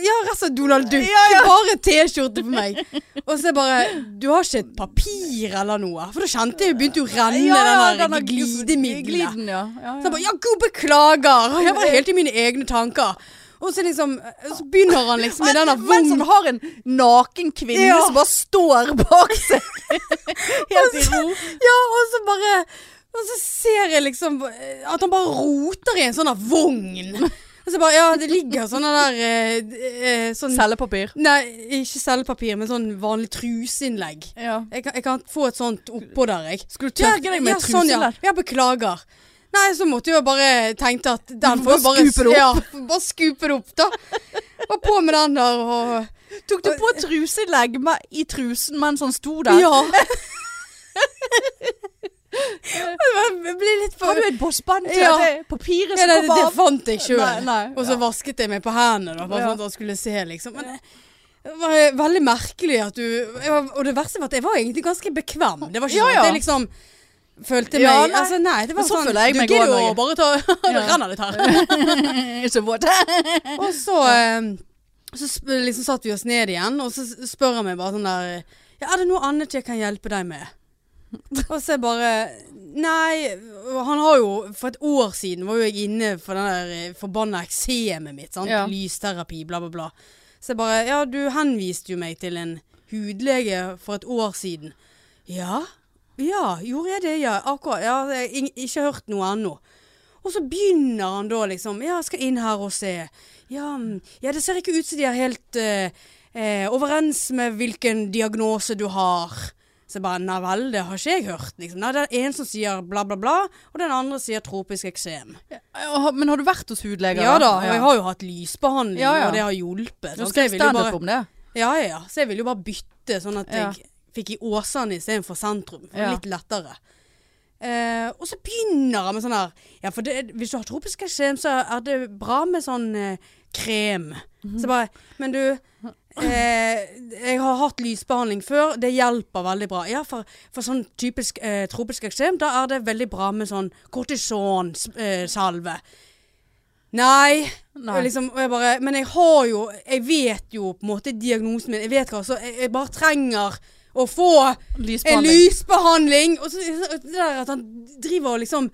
Ja, resten Donald Duck. Bare T-skjorte på meg. Og så er bare Du har ikke et papir eller noe? For da kjente jeg jo begynte jo å renne den der glidemiddelet. gliden, ja. Ja, ja. Så jeg bare Ja, gud, beklager. Og jeg var helt i mine egne tanker. Og så liksom Så begynner han liksom med denne Mens han vogn... har en naken kvinne Ja. som bare står bak seg. Helt i ro. Ja, og så bare Og så ser jeg liksom eh, at han bare roter i en sånn der vogn. Og så bare Ja, det ligger sånne der eh, d- eh, sånn, Cellepapir. Nei, ikke selvpapir, men sånn vanlig truseinnlegg. Ja. Jeg kan, jeg kan få et sånt oppå der, jeg. Skulle du tørke deg med ja, sånn, ja. trusen? ja, beklager. Nei, så måtte jeg jo bare tenke at den Du får jo må bare skupe det opp. Ja, får bare skupe det opp, da. Og på med den der og Tok du på truseinnlegg med- i trusen mens han sto der? Ja. Jeg ble litt Har for du et bossband til Ja. det papiret ja, som det, kommer det av? fant jeg Nei, sjøl. nei, Og så ja. vasket jeg meg på hendene, da, bare Ja. sånn at han skulle se, liksom. Men det var eh, veldig merkelig at du jeg var- Og det verste var at jeg var egentlig ganske bekvem. Det var ikke Ja, sånn ja. at jeg liksom følte meg Ja, nei. nei. Altså, nei, det var Men sånn sånn føler jeg Du meg gidder også, jo bare ta Det Ja. renner litt her. Så våt. Og så eh, Så sp- liksom satt vi oss ned igjen, og så s- spør han meg bare sånn der Ja, er det noe annet jeg kan hjelpe deg med? Og så jeg bare Nei, og han har jo For et år siden var jo jeg inne for den der eh, forbanna eksemet mitt. Sant? Ja. Lysterapi, bla, bla, bla. Så jeg bare Ja, du henviste jo meg til en hudlege for et år siden. Ja. Ja, gjorde jeg det? Ja, akkurat. Ja, jeg har ing- ikke hørt noe ennå. Og så begynner han da liksom Ja, jeg skal inn her og se. Ja, mm, ja det ser ikke ut som de har helt eh, eh, overens med hvilken diagnose du har. Så jeg bare Nei vel, det har ikke jeg hørt. Liksom. Nei, det er en som sier bla, bla, bla, og den andre sier tropisk eksem. Ja, Men har du vært hos hudleger? Ja da, og jeg har jo hatt lysbehandling, Ja, ja. og det har Nå hjulpet. sant? Så skal jeg jeg ville jo standup bare- om det. Ja, ja, ja. Så jeg ville jo bare bytte, sånn at Ja. jeg fikk i Åsane istedenfor sentrum. For det Ja. er litt lettere. Eh, og så begynner jeg med sånn her Ja, for det, hvis du har tropisk eksem, så er det bra med sånn eh, krem. Mhm. Så bare Men du, eh, jeg har hatt lysbehandling før. Det hjelper veldig bra. Ja, for, for sånn typisk eh, tropisk eksem, da er det veldig bra med sånn kortisonsalve. Nei. Nei. Og liksom, og jeg bare, men jeg har jo Jeg vet jo på en måte diagnosen min. Jeg vet hva, så jeg, jeg bare trenger å få en Lysbehandling. lysbehandling. Og så så det der at han driver og liksom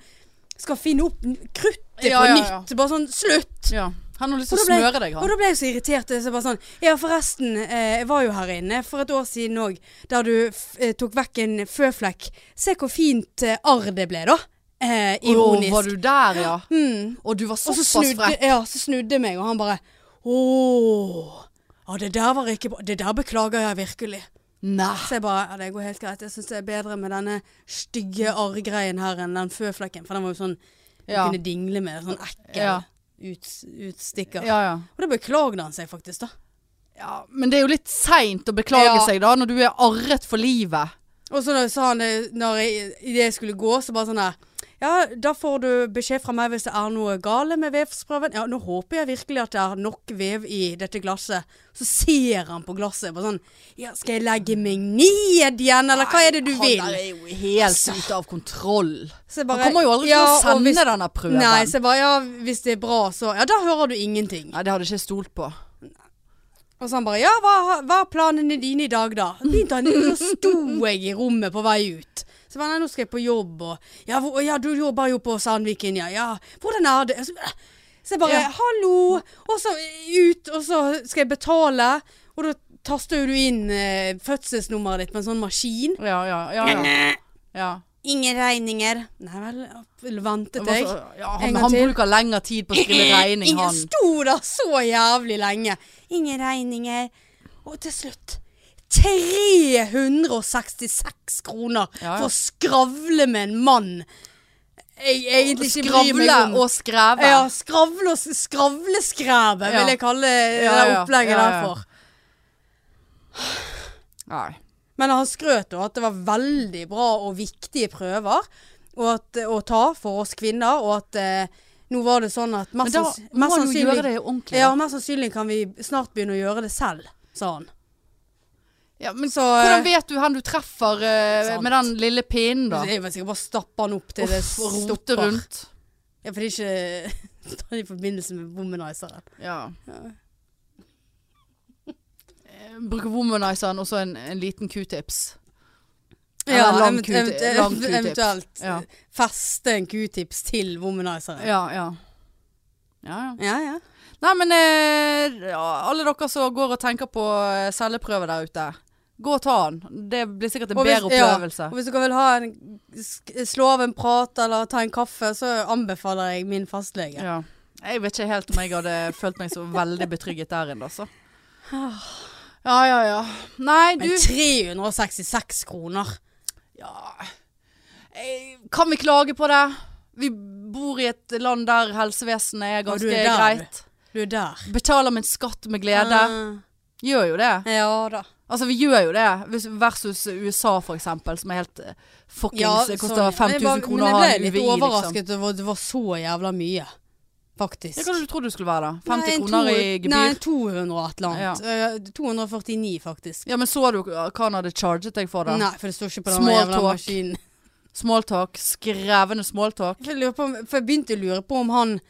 skal finne opp n- kruttet Ja, på ja, ja. nytt. Bare sånn slutt. Ja. Han har lyst til Og å da ble- smøre deg, Og han. da ble jeg så irritert. Så jeg bare sånn Ja, forresten, eh, jeg var jo her inne for et år siden òg, der du f eh, tok vekk en føflekk. Se hvor fint eh, arr det ble, da. Eh, ironisk. Å, var du der, ja? mm. Og du var Og så såpass snudde, frekk. ja, så snudde jeg meg, og han bare Åh, ja, det der var ikke bra. Det der beklager jeg virkelig. Nei. Så jeg bare Ja, det går helt greit. Jeg syns det er bedre med denne stygge arrgreien her enn den føflekken. For den var jo sånn Du Ja. kunne dingle med. Sånn ekkel Ja. ut, utstikker. Ja, ja. Og da beklagde han seg faktisk, da. ja. Men det er jo litt seint å beklage Ja. seg, da, når du er arret for livet. Og så da sa han det når jeg, i det jeg skulle gå, så bare sånn der Ja, da får du beskjed fra meg hvis det er noe gale med vevsprøven. Ja, nå håper jeg virkelig at det er nok vev i dette glasset. Så ser han på glasset bare sånn Ja, skal jeg legge meg ned igjen, eller hva er det du Nei, vil? Han der er jo helt ute av kontroll. Så jeg Han kommer jo aldri til ja, å og sende hvis- denne prøven. Nei, så jeg bare Ja, hvis det er bra, så Ja, da hører du ingenting. Nei, det hadde jeg ikke stolt på. Og så han bare Ja, hva, hva er planene dine i dag, da? Begynte han, Så sto jeg i rommet på vei ut. Så jeg bare, nei, nå skal jeg på jobb, og ja, hvor, ja, du jobber jo på Sandviken, ja. ja. Hvordan er det? Så, så jeg bare Ja. Hallo! Og så ut, og så skal jeg betale. Og da taster jo du inn eh, fødselsnummeret ditt på en sånn maskin. Ja, ja, ja. ja. ja. Ingen regninger. Nei vel, ventet jeg. Hvorfor- ja han, En gang han til. bruker lengre tid på å skrive regning, Eh, Ingen han. sto der så jævlig lenge. Ingen regninger. Og til slutt 366 kroner Ja, ja. for å skravle med en mann. Jeg egentlig ikke bryr meg Skravle om. og skreve. Ja, skravle og s- skravleskræve Ja. vil jeg kalle det Ja, ja, opplegget ja, ja. der for. Nei. Men han skrøt jo at det var veldig bra og viktige prøver og at, å ta for oss kvinner, og at eh, nå var det sånn at Men mest, da sanns- må mest han jo sannsynlig gjøre det ordentlig. Ja, mest sannsynlig kan vi snart begynne å gjøre det selv, sa han. Ja, men Så eh, Hvordan vet du hen du treffer eh, Sant. med den lille pinnen, da? Jeg vet ikke, bare stappe han opp til det Uff, rote stopper. rundt. Ja, for det er ikke det er i forbindelse med womanizeren. Ja. Eh, Bruke womanizeren og så en, en liten q-tips. Eller en lang event- Q-tip- event- lang Q-tips. eventuelt Ja. feste en q-tips til womanizeren. Ja, ja. Ja, ja. Ja, ja. Nei, men eh, alle dere som går og tenker på eh, celleprøve der ute. Gå og ta den. Det blir sikkert en Og hvis- bedre ja, opplevelse. Og hvis dere vil ha en, sk- slå av en prat eller ta en kaffe, så anbefaler jeg min fastlege. Ja. Jeg vet ikke helt om jeg hadde følt meg så veldig betrygget der inne, altså. Ja, ja, ja. Nei, du Men 366 kroner. ja. Eh, Kan vi klage på det? Vi bor i et land der helsevesenet er Og du ganske er der, du. greit. Du er der. Betaler min skatt med glede. Gjør jo det. Ah, Ja da. Altså, vi gjør jo det. Hvis- Versus USA, for eksempel, som er helt eh, fuckings Ja, Det sånn, ja. koster Men jeg bare- 5000 kroner å Men ha jeg en ble UVI, litt liksom. overrasket over at det var så jævla mye, faktisk. Ja, hva hadde du trodd det skulle være, da? Nei, 50 en kroner to- i Nei, gebyr? 200 og et eller annet. Eh, 249 faktisk. Ja, men så du hva han hadde charget deg for, da? Nei, for det står ikke på den Small jævla talk. maskinen. Smalltalk. Skrevende smalltalk. Jeg lurer på, om- for jeg begynte å lure på om han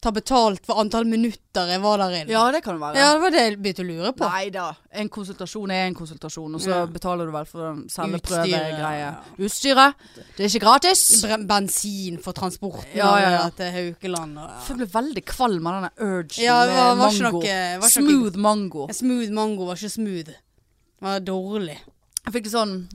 tar betalt for antall minutter jeg var der inne. Ja, det kan det være. Ja, det var det jeg begynte å lure på. Nei da. En konsultasjon er en konsultasjon, og så Ja. betaler du vel for den Utstyret, celleprøvegreia. ja. Utstyret. Det er ikke gratis. Bre- Bensin for transporten Ja, ja, ja. av det til Haukeland. Og, ja. Jeg ble veldig kvalm av denne urgen Ja, det var, med var ikke mango. noe, var ikke noe Smooth mango. Smooth mango var ikke smooth. Det var dårlig. Jeg fikk litt sånn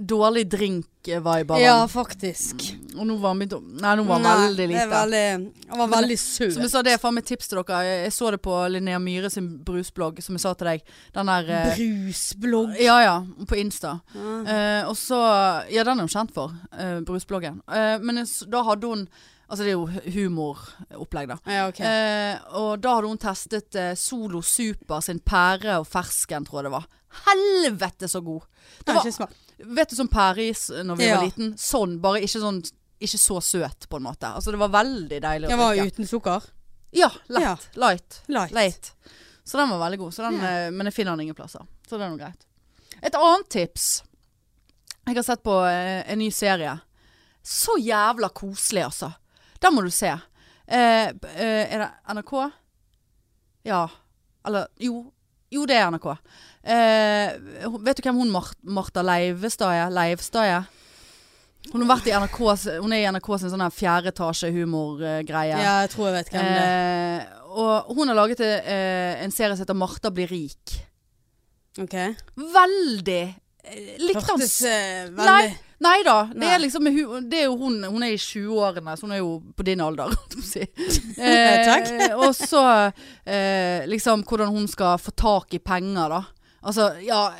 dårlig drink-vibe av Ja, han. faktisk. Og nå var han begynt å Nei, nå var han Nei, veldig det er lite. veldig- Han var Men- veldig søt. Som jeg sa, det er faen meg tips til dere. Jeg, jeg så det på Linnea Myhre sin brusblogg, som jeg sa til deg. Den der eh, Brusblogg. Ja ja, på Insta. Ja. Eh, og så Ja, den er hun kjent for, eh, brusbloggen. Eh, men jeg s- da hadde hun Altså, det er jo hu- humoropplegg, da. Ja, ok. Eh, og da hadde hun testet eh, Solo Super sin pære og fersken, tror jeg det var. Helvete så god! Det Nei, var, ikke smak. vet du sånn pæreis eh, når vi Ja. var liten? Sånn, bare ikke sånn Ikke så søt, på en måte. Altså, det var veldig deilig å Jeg var drikke. uten sukker. Ja, lett. Ja. Light. Light. Late. Så den var veldig god. Så den, Ja. eh, Men jeg finner den ingen plasser. Så det er noe greit. Et annet tips. Jeg har sett på eh, en ny serie. Så jævla koselig, altså. Den må du se. Eh, b- eh, er det NRK? Ja. Eller jo. Jo, det er NRK. Eh, hun- vet du hvem hun Mar Martha Leivestad er? Leivstad er? Hun, har vært i NRK, s- hun er i NRK sin sånn her fjerde etasje humorgreie. Ja. jeg tror jeg vet hvem det er. Eh, og hun har laget eh, en serie som heter 'Martha blir rik'. Eh, Ok. Veldig eh, Likte han Hørtes s- eh, veldig Nei, nei da. Det Nei. er liksom hu- Det er jo hun Hun er i 20-årene, så hun er jo på din alder, holdt jeg på å si. Ja, takk. Eh, og så eh, liksom hvordan hun skal få tak i penger, da. Altså, ja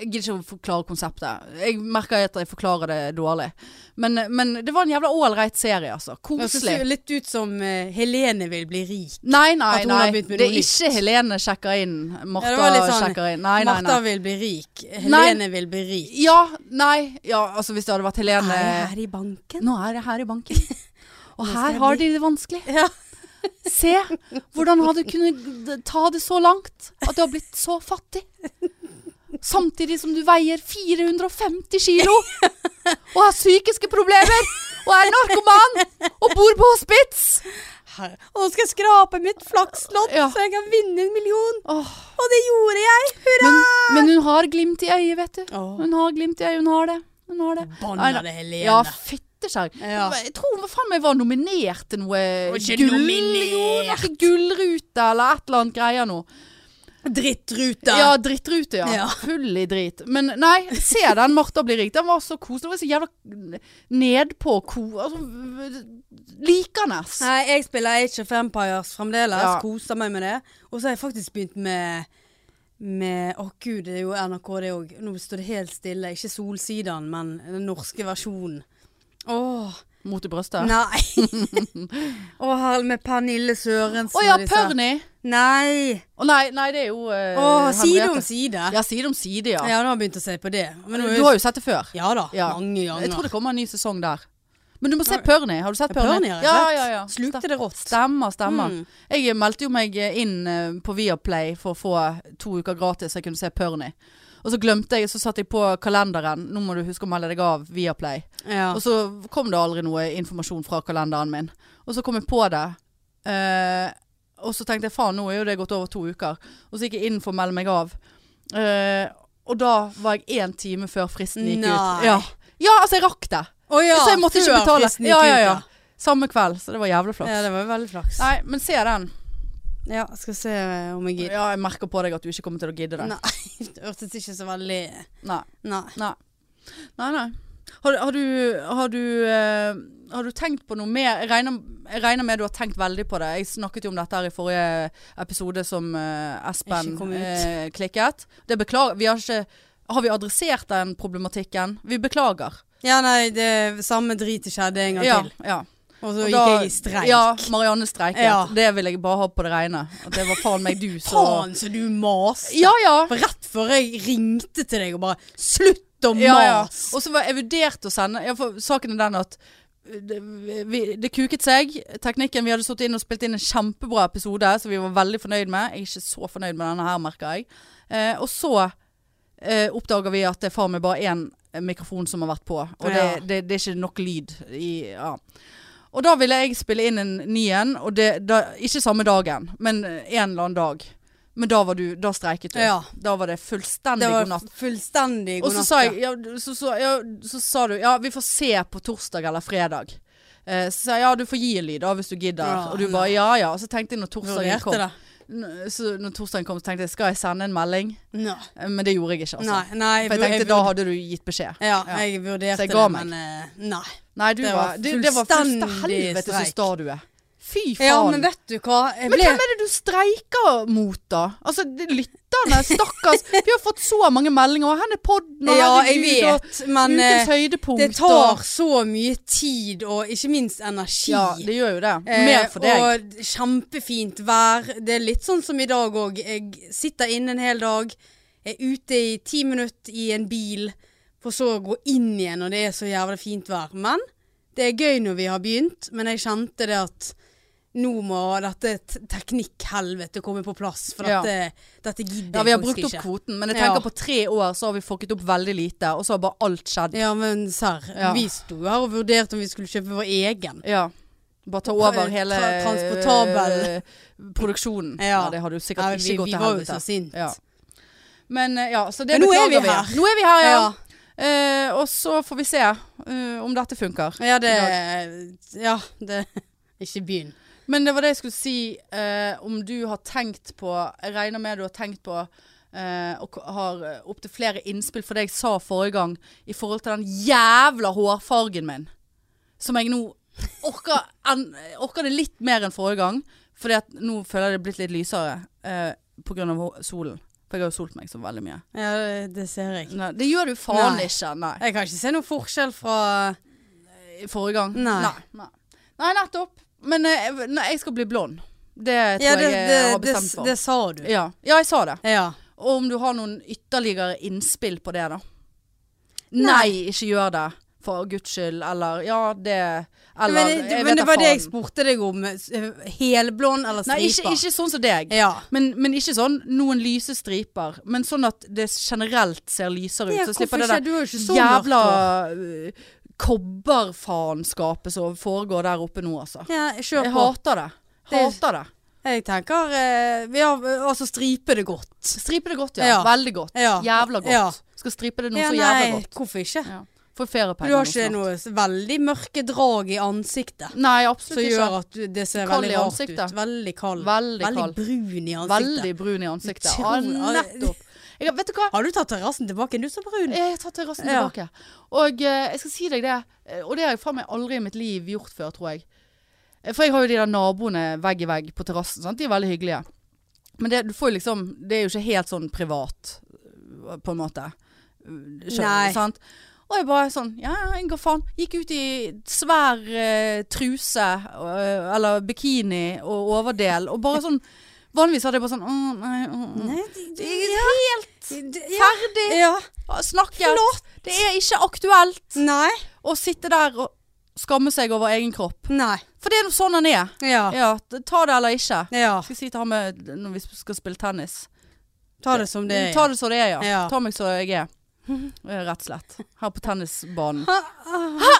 Jeg gidder ikke å forklare konseptet. Jeg merker at jeg forklarer det dårlig. Men, men det var en jævla ålreit serie, altså. Det Koselig. ser jo litt ut som eh, Helene vil bli rik. Nei, nei, At hun har nei. begynt med Det er noe ikke Helene sjekker inn. Martha Ja, det var litt sånn, sjekker inn. Nei, nei, Martha nei. vil bli rik. Helene vil bli rik. Ja, nei. Ja, altså hvis det hadde vært Er Helene jeg her i banken? Nå er jeg her i banken. Og Nå skal her jeg har de det vanskelig. Ja. Se hvordan hadde du kunnet ta det så langt at du har blitt så fattig. Samtidig som du veier 450 kilo og har psykiske problemer og er narkoman og bor på hospits. Her. Og nå skal jeg skrape mitt flakslodd, Ja. så jeg kan vinne en million. Åh. Og det gjorde jeg! Hurra! Men, men hun har glimt i øyet, vet du. Åh. Hun har glimt i øyet, hun har det. Hun har det. Nei, nei. Banna det, Helene. Ja, fytteskjær. Ja. Jeg tror hun faen meg var nominert til noe Og ikke gull... nominert. Jo, noe gullrute eller et eller annet greier nå. Drittruta. Ja, drittrute, ja. Ja. Full i drit. Men nei, se den Martha blir rik. Den var så koselig. Den var så jævla nedpå ko... Altså, likende. Nei, jeg spiller Age of Empires fremdeles. Ja. Koser meg med det. Og så har jeg faktisk begynt med med, Å gud, det er jo NRK det òg. Nå står det helt stille. Ikke Solsidan, men den norske versjonen. Åh, Mot i brøstet. nei. Å, her med Pernille Sørensen Å ja, og disse- Pørni. Nei. Å nei, nei, det er jo eh, Å, side om Henriette. side. Ja, Ja, side om side, ja. nå har jeg begynt å se på det. Men nå er Du har jo sett det før. Ja da, Ja. mange Jeg tror ganger. det kommer en ny sesong der. Men du må se Pørni. Har du sett Ja, Pørni Pørni? har jeg Ja, sett. ja, ja. Slukte Stem- det rått. Stemmer, stemmer. Mm. Jeg meldte jo meg inn eh, på Viaplay for å få to uker gratis så jeg kunne se Pørni. Og så glemte jeg, så satte jeg på kalenderen. Nå må du huske å melde deg av Viaplay. Ja. Og så kom det aldri noe informasjon fra kalenderen min. Og så kom jeg på det. Eh, og så tenkte jeg faen, nå er jo det gått over to uker. Og så gikk jeg inn for å melde meg av. Eh, og da var jeg én time før fristen gikk Nei. ut. Ja. ja, altså jeg rakk det. Å ja, så jeg måtte ikke før betale. fristen gikk Ja, ja, ut, ja. Samme kveld, så det var jævlig flaks. Ja, det var jo veldig flaks. Nei, men se den. Ja, skal se eh, om jeg gidder. Ja, jeg merker på deg at du ikke kommer til å gidde det. Nei, det hørtes ikke så veldig Nei. Nei. Nei, nei. nei. Har, har du, har, du, eh, har du tenkt på noe mer? Jeg regner, jeg regner med du har tenkt veldig på det. Jeg snakket jo om dette her i forrige episode som eh, Espen Ikke kom ut. eh, klikket. Det beklager, vi har ikke... Har vi adressert den problematikken? Vi beklager. Ja, nei, det samme dritet skjedde en gang Ja, til. ja. Og Og så gikk da- jeg i streik. Ja, Marianne streiket. Ja. Det vil jeg bare ha på det regne. At det var faen meg du som... Faen, så du maste! Ja, ja. For Rett før jeg ringte til deg og bare Slutt å Ja, ja. mase! Og så var jeg vurdert å sende ja, for Saken er den at eh, det, vi, det kuket seg. Teknikken Vi hadde stått inn og spilt inn en kjempebra episode som vi var veldig fornøyd med. Jeg er ikke så fornøyd med denne her, merker jeg. Eh, og så eh, oppdager vi at det er faen meg bare én mikrofon som har vært på. Og det, Ja. det, det er ikke nok lyd i ja. Og da ville jeg spille inn en ny en, og det, da, ikke samme dagen, men en eller annen dag. Men da, var du, da streiket du. Ja. Da var det fullstendig Det god var natt. fullstendig Og god så natt. sa, jeg, ja, du- så, så, ja, så sa du ja, vi får se på torsdag eller fredag. Eh, så sa jeg ja, du får gi en lyd da hvis du gidder. Ja, og du bare ja ja. Og så tenkte jeg når torsdagen Vurderte kom det. N- Så når Torstein kom, så tenkte jeg skal jeg sende en melding? Nei, Men det gjorde jeg ikke, altså. nei, nei For jeg vur- tenkte da hadde du gitt beskjed. vur- ja, Ja. jeg Så vurderte jeg ga det, meg. men eh, nei. Nei, du Det det var var, du, det var fullstendig fullstendig helvete så streik. sta du er. Fy faen. Ja, men vet du hva? Jeg Men ble hvem er det du streiker mot, da? Altså, de lytterne, stakkars. Vi har fått så mange meldinger. og Her er podden, og Ja, her er jeg Gud, og vet, men eh, ukens høydepunkt. det tar og, så mye tid og ikke minst energi. Ja, det gjør jo det. Eh, Mer for deg. Og kjempefint vær. Det er litt sånn som i dag òg. Jeg sitter inne en hel dag, er ute i ti minutter i en bil, for så å gå inn igjen når det er så jævlig fint vær. Men det er gøy når vi har begynt, men jeg kjente det at nå må dette t- teknikkhelvete komme på plass, for Ja. dette, dette gidder Ja, vi har jeg faktisk brukt opp ikke. kvoten, men jeg Ja. tenker på tre år så har vi fokket opp veldig lite, og så har bare alt skjedd. Ja, men serr. Ja. Vi sto her og vurderte om vi skulle kjøpe vår egen. Ja. Bare ta Tra- over hele tra- transportabel. eh, produksjonen. Ja. Ja. det hadde jo Ja, sikkert vi, ikke gått vi til var jo så helvete. sinte. Ja. Men eh, ja, så det Men nå er beklager vi her. Nå er vi her, ja. ja. Eh, og så får vi se eh, om dette funker. Ja, det Ja, det Ikke begynn. Men det var det jeg skulle si eh, om du har tenkt på Jeg regner med du har tenkt på eh, og k- har opptil flere innspill for det jeg sa forrige gang i forhold til den jævla hårfargen min. Som jeg nå orker, en, orker det litt mer enn forrige gang. Fordi at nå føler jeg det er blitt litt lysere eh, pga. solen. For jeg har jo solt meg så veldig mye. Ja, det ser jeg. Nei, det gjør du faen Nei. ikke. Nei. Jeg kan ikke se noen forskjell fra I Eh, forrige gang? Nei. Nei, Nei, nettopp. Men eh, nei, jeg skal bli blond. Det tror Ja, det, jeg det, jeg har det, bestemt for. det sa du. ja. ja, jeg sa det. Ja. Og om du har noen ytterligere innspill på det, da. Nei. Nei, ikke gjør det. For guds skyld, eller Ja, det Eller men det, jeg det, vet men det da var det jeg faen. spurte deg om. s- Helblond eller Nei, ikke, stripa? ikke sånn som deg. Ja. Men, men ikke sånn noen lyse striper. Men sånn at det generelt ser lysere ut. Ja, så hvorfor slipper det ikke? der Du har jo ikke sånn, så mørkt jævla hår. øh, kobberfaenskapet som foregår der oppe nå, altså. Ja, kjør Jeg på. hater det. Det- Hater det. Jeg tenker eh, vi har, Altså, stripe det godt. Stripe det godt, ja. Ja. Veldig godt. Ja. Jævla godt. Ja. Skal stripe det noe Ja, så jævla nei, godt. hvorfor ikke? Ja. Får Du feriepenger har ikke noe s- veldig mørke drag i ansiktet. Nei, absolutt Som ikke. gjør at du- det ser Kald i veldig rart ut. ansiktet. Veldig kald. Veldig kald. brun i ansiktet. Veldig brun i ansiktet. Ja, Utrolig. nettopp. Jeg, vet du hva? Har du tatt terrassen tilbake? Du så brun. Jeg har tatt terrassen Ja. tilbake. Og eh, jeg skal si deg det, eh, og det har jeg faen meg aldri i mitt liv gjort før, tror jeg. Eh, For jeg har jo de der naboene vegg i vegg på terrassen, sant? de er veldig hyggelige. Men det, du får jo liksom, det er jo ikke helt sånn privat, på en måte. Skjønner, Nei. du, Sant? Og jeg bare sånn, ja, ja, jeg går faen. Gikk ut i svær eh, truse, eh, eller bikini og overdel, og bare sånn, vanligvis hadde jeg bare sånn, åh, nei, åh, åh. Nei, det, det, ja. Helt ja. Ferdig! ja. Snakket! Det er ikke aktuelt Nei. å sitte der og skamme seg over egen kropp. Nei. For det er jo sånn han er. Ja. Ja, t- ta det eller ikke. ja. Skal jeg si til han med, når vi skal spille tennis Ta det som det er. Ta det som det er, ja. Ja. Ta meg som jeg er. Eh, Rett og slett. Her på tennisbanen. Ha,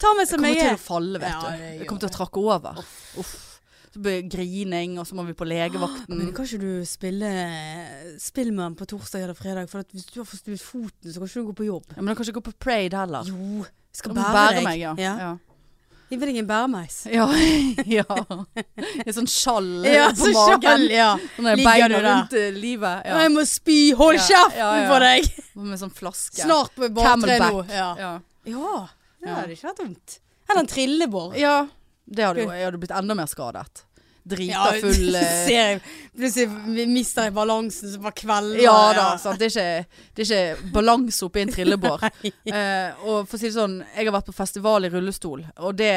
Ta meg som Kommer jeg til er. å falle, vet Ja, du. det gjør Jeg kommer til å trakke over. Uff. Så blir det grining, og så må vi på Men legevakten. kan ikke du spille Spill med den på torsdag eller fredag? For at hvis du har forstuet foten, så kan ikke du gå på jobb. Ja, men da kan jeg ikke gå på parade heller. Jo. jeg Jeg Skal må bære, bære deg. meg, ja. ja. ja. Gi meg en bæremeis. Ja. ja. Et sånt skjall Ja, på så magen. skjall, ja. Sånn der Ligger beina du der? rundt eh, livet. Ja. Jeg må spy! Hold Ja, kjeften ja, ja. på deg! Med sånn flaske. Snart på bartre nå. Camelback. Ja. Ja. ja. Det Ja. hadde ikke vært dumt. Eller en trillebår. ja. Det hadde jo, jeg hadde blitt enda mer skadet. Drita full eh, ser jeg, plutselig mister jeg balansen, så bare kvelder Ja da, jeg. altså. sant. Det er ikke, det er ikke balanse oppi en trillebår. Eh, og for å si det sånn, jeg har vært på festival i rullestol, og, det,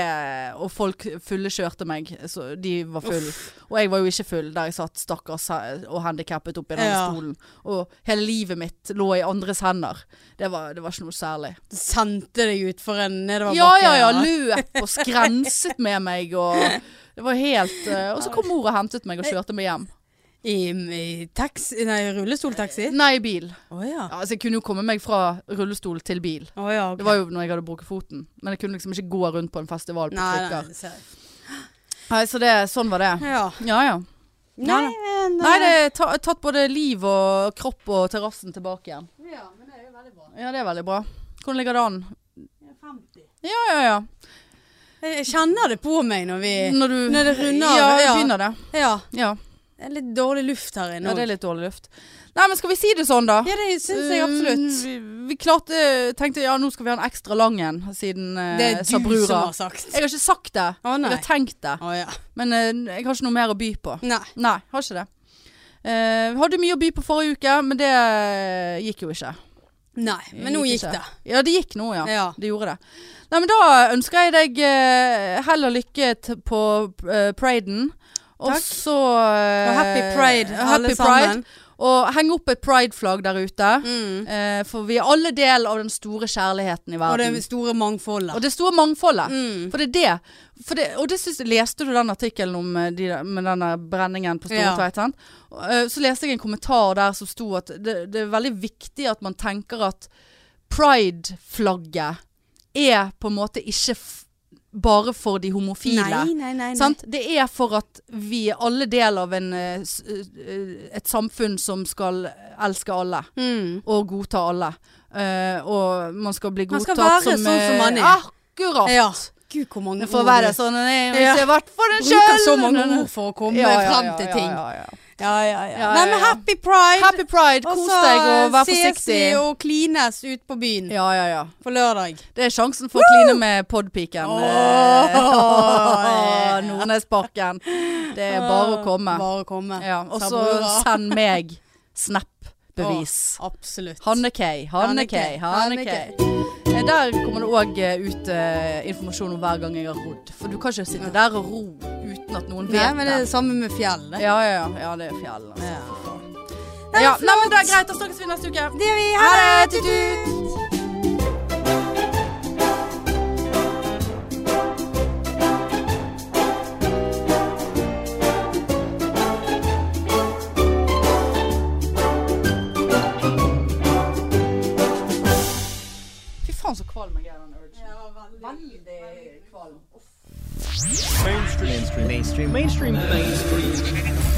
og folk fulle kjørte meg. Så de var full. Og jeg var jo ikke full der jeg satt stakkars he- og handikappet oppi den Ja. stolen. Og hele livet mitt lå i andres hender. Det var, det var ikke noe særlig. Sendte deg utfor en nedover Ja, ja, ja. bakken, Løp og skrenset med meg og det var helt eh, Og så kom mor og hentet meg og kjørte meg hjem. I, i taxi, nei, rullestoltaxi? Nei, bil. Å ja. Ja, altså, jeg kunne jo komme meg fra rullestol til bil. Å ja, ok. Det var jo når jeg hadde brukket foten. Men jeg kunne liksom ikke gå rundt på en festival på Nei, krykker. nei, ser jeg. Nei, så det, sånn var det. Ja. Ja, ja. Nei, men Nei, eh, det er ta, tatt både liv og kropp og terrassen tilbake igjen. Ja, men det er jo veldig bra. Ja, det er veldig bra. Hvordan ligger det an? Jeg er 50. Ja, ja, ja. Jeg kjenner det på meg når vi Når du Eh, Når det runder av, ja, ja. begynner det. Ja. Ja. Det er litt dårlig luft her inne. ja, det også. er litt dårlig luft. Nei, men skal vi si det sånn, da? Ja, det syns jeg absolutt. Eh, Vi, vi klarte Tenkte ja, nå skal vi ha en ekstra lang en, siden eh, Det er du Sabrura. som har sagt. Jeg har ikke sagt det. Å, nei. jeg har tenkt det. Å ja. Men eh, jeg har ikke noe mer å by på. Nei. Nei, har ikke det. Eh, hadde mye å by på forrige uke, men det eh, gikk jo ikke. Nei. Men nå gikk ikke. det. Ja, det gikk nå, ja. Ja. Det gjorde det. Nei, men da ønsker jeg deg eh, hell og lykke t på eh, priden. Og Takk. så Og eh, happy pride, alle happy sammen. Og heng opp et prideflagg der ute. Mm. Eh, for vi er alle del av den store kjærligheten i Og det verden. store mangfoldet. Og det store mangfoldet. Mm. For det er det. For det og det synes, jeg- leste du den artikkelen om eh, de, der- med denne brenningen på Ja. Stortveit? sant? Og, eh, Så leste jeg en kommentar der som sto at det, det er veldig viktig at man tenker at pride-flagget er på en måte ikke f bare for de homofile. Nei, nei, nei. nei. Sant? Det er for at vi er alle del av en, eh, s- eh, et samfunn som skal elske alle Mm. og godta alle. Eh, og man skal bli Man godtatt skal som være sånn som man er. eh, Akkurat. Ja. Gud, hvor mange For å ord være du sånn den er, Ja. hvis jeg vært for den Bruker så mange sjøl. ord for å komme Ja, ja, frem ja, til ja, ting. ja, ja. Ja, ja, Ja, ja. Nei, ja, men ja. happy pride! Happy pride, kos deg og vær forsiktig. ses vi og klines ut på byen Ja, ja, ja. på lørdag. Det er sjansen for å kline med podpiken. Åh, Eh, ja. Nordnesparken. Det er bare å komme. Bare å komme. Ja, og så Sabrura. send meg snap-bevis. Absolutt. Hanne K, Hanne K, Hanne K. Eh, Der kommer det òg ut eh, informasjon om hver gang jeg har rodd. For du kan ikke sitte der og ro uten at noen Nei, vet men det er det samme med fjell. det. Ja, ja, ja, ja, det er fjell. Altså. Ja. Ja, nei, men det er greit. Da snakkes vi neste uke. Det vi Ha har. det! Tutut! Fy faen så kvalm jeg er av den urgen. Veldig kvalm. mainstream mainstream mainstream mainstream mainstream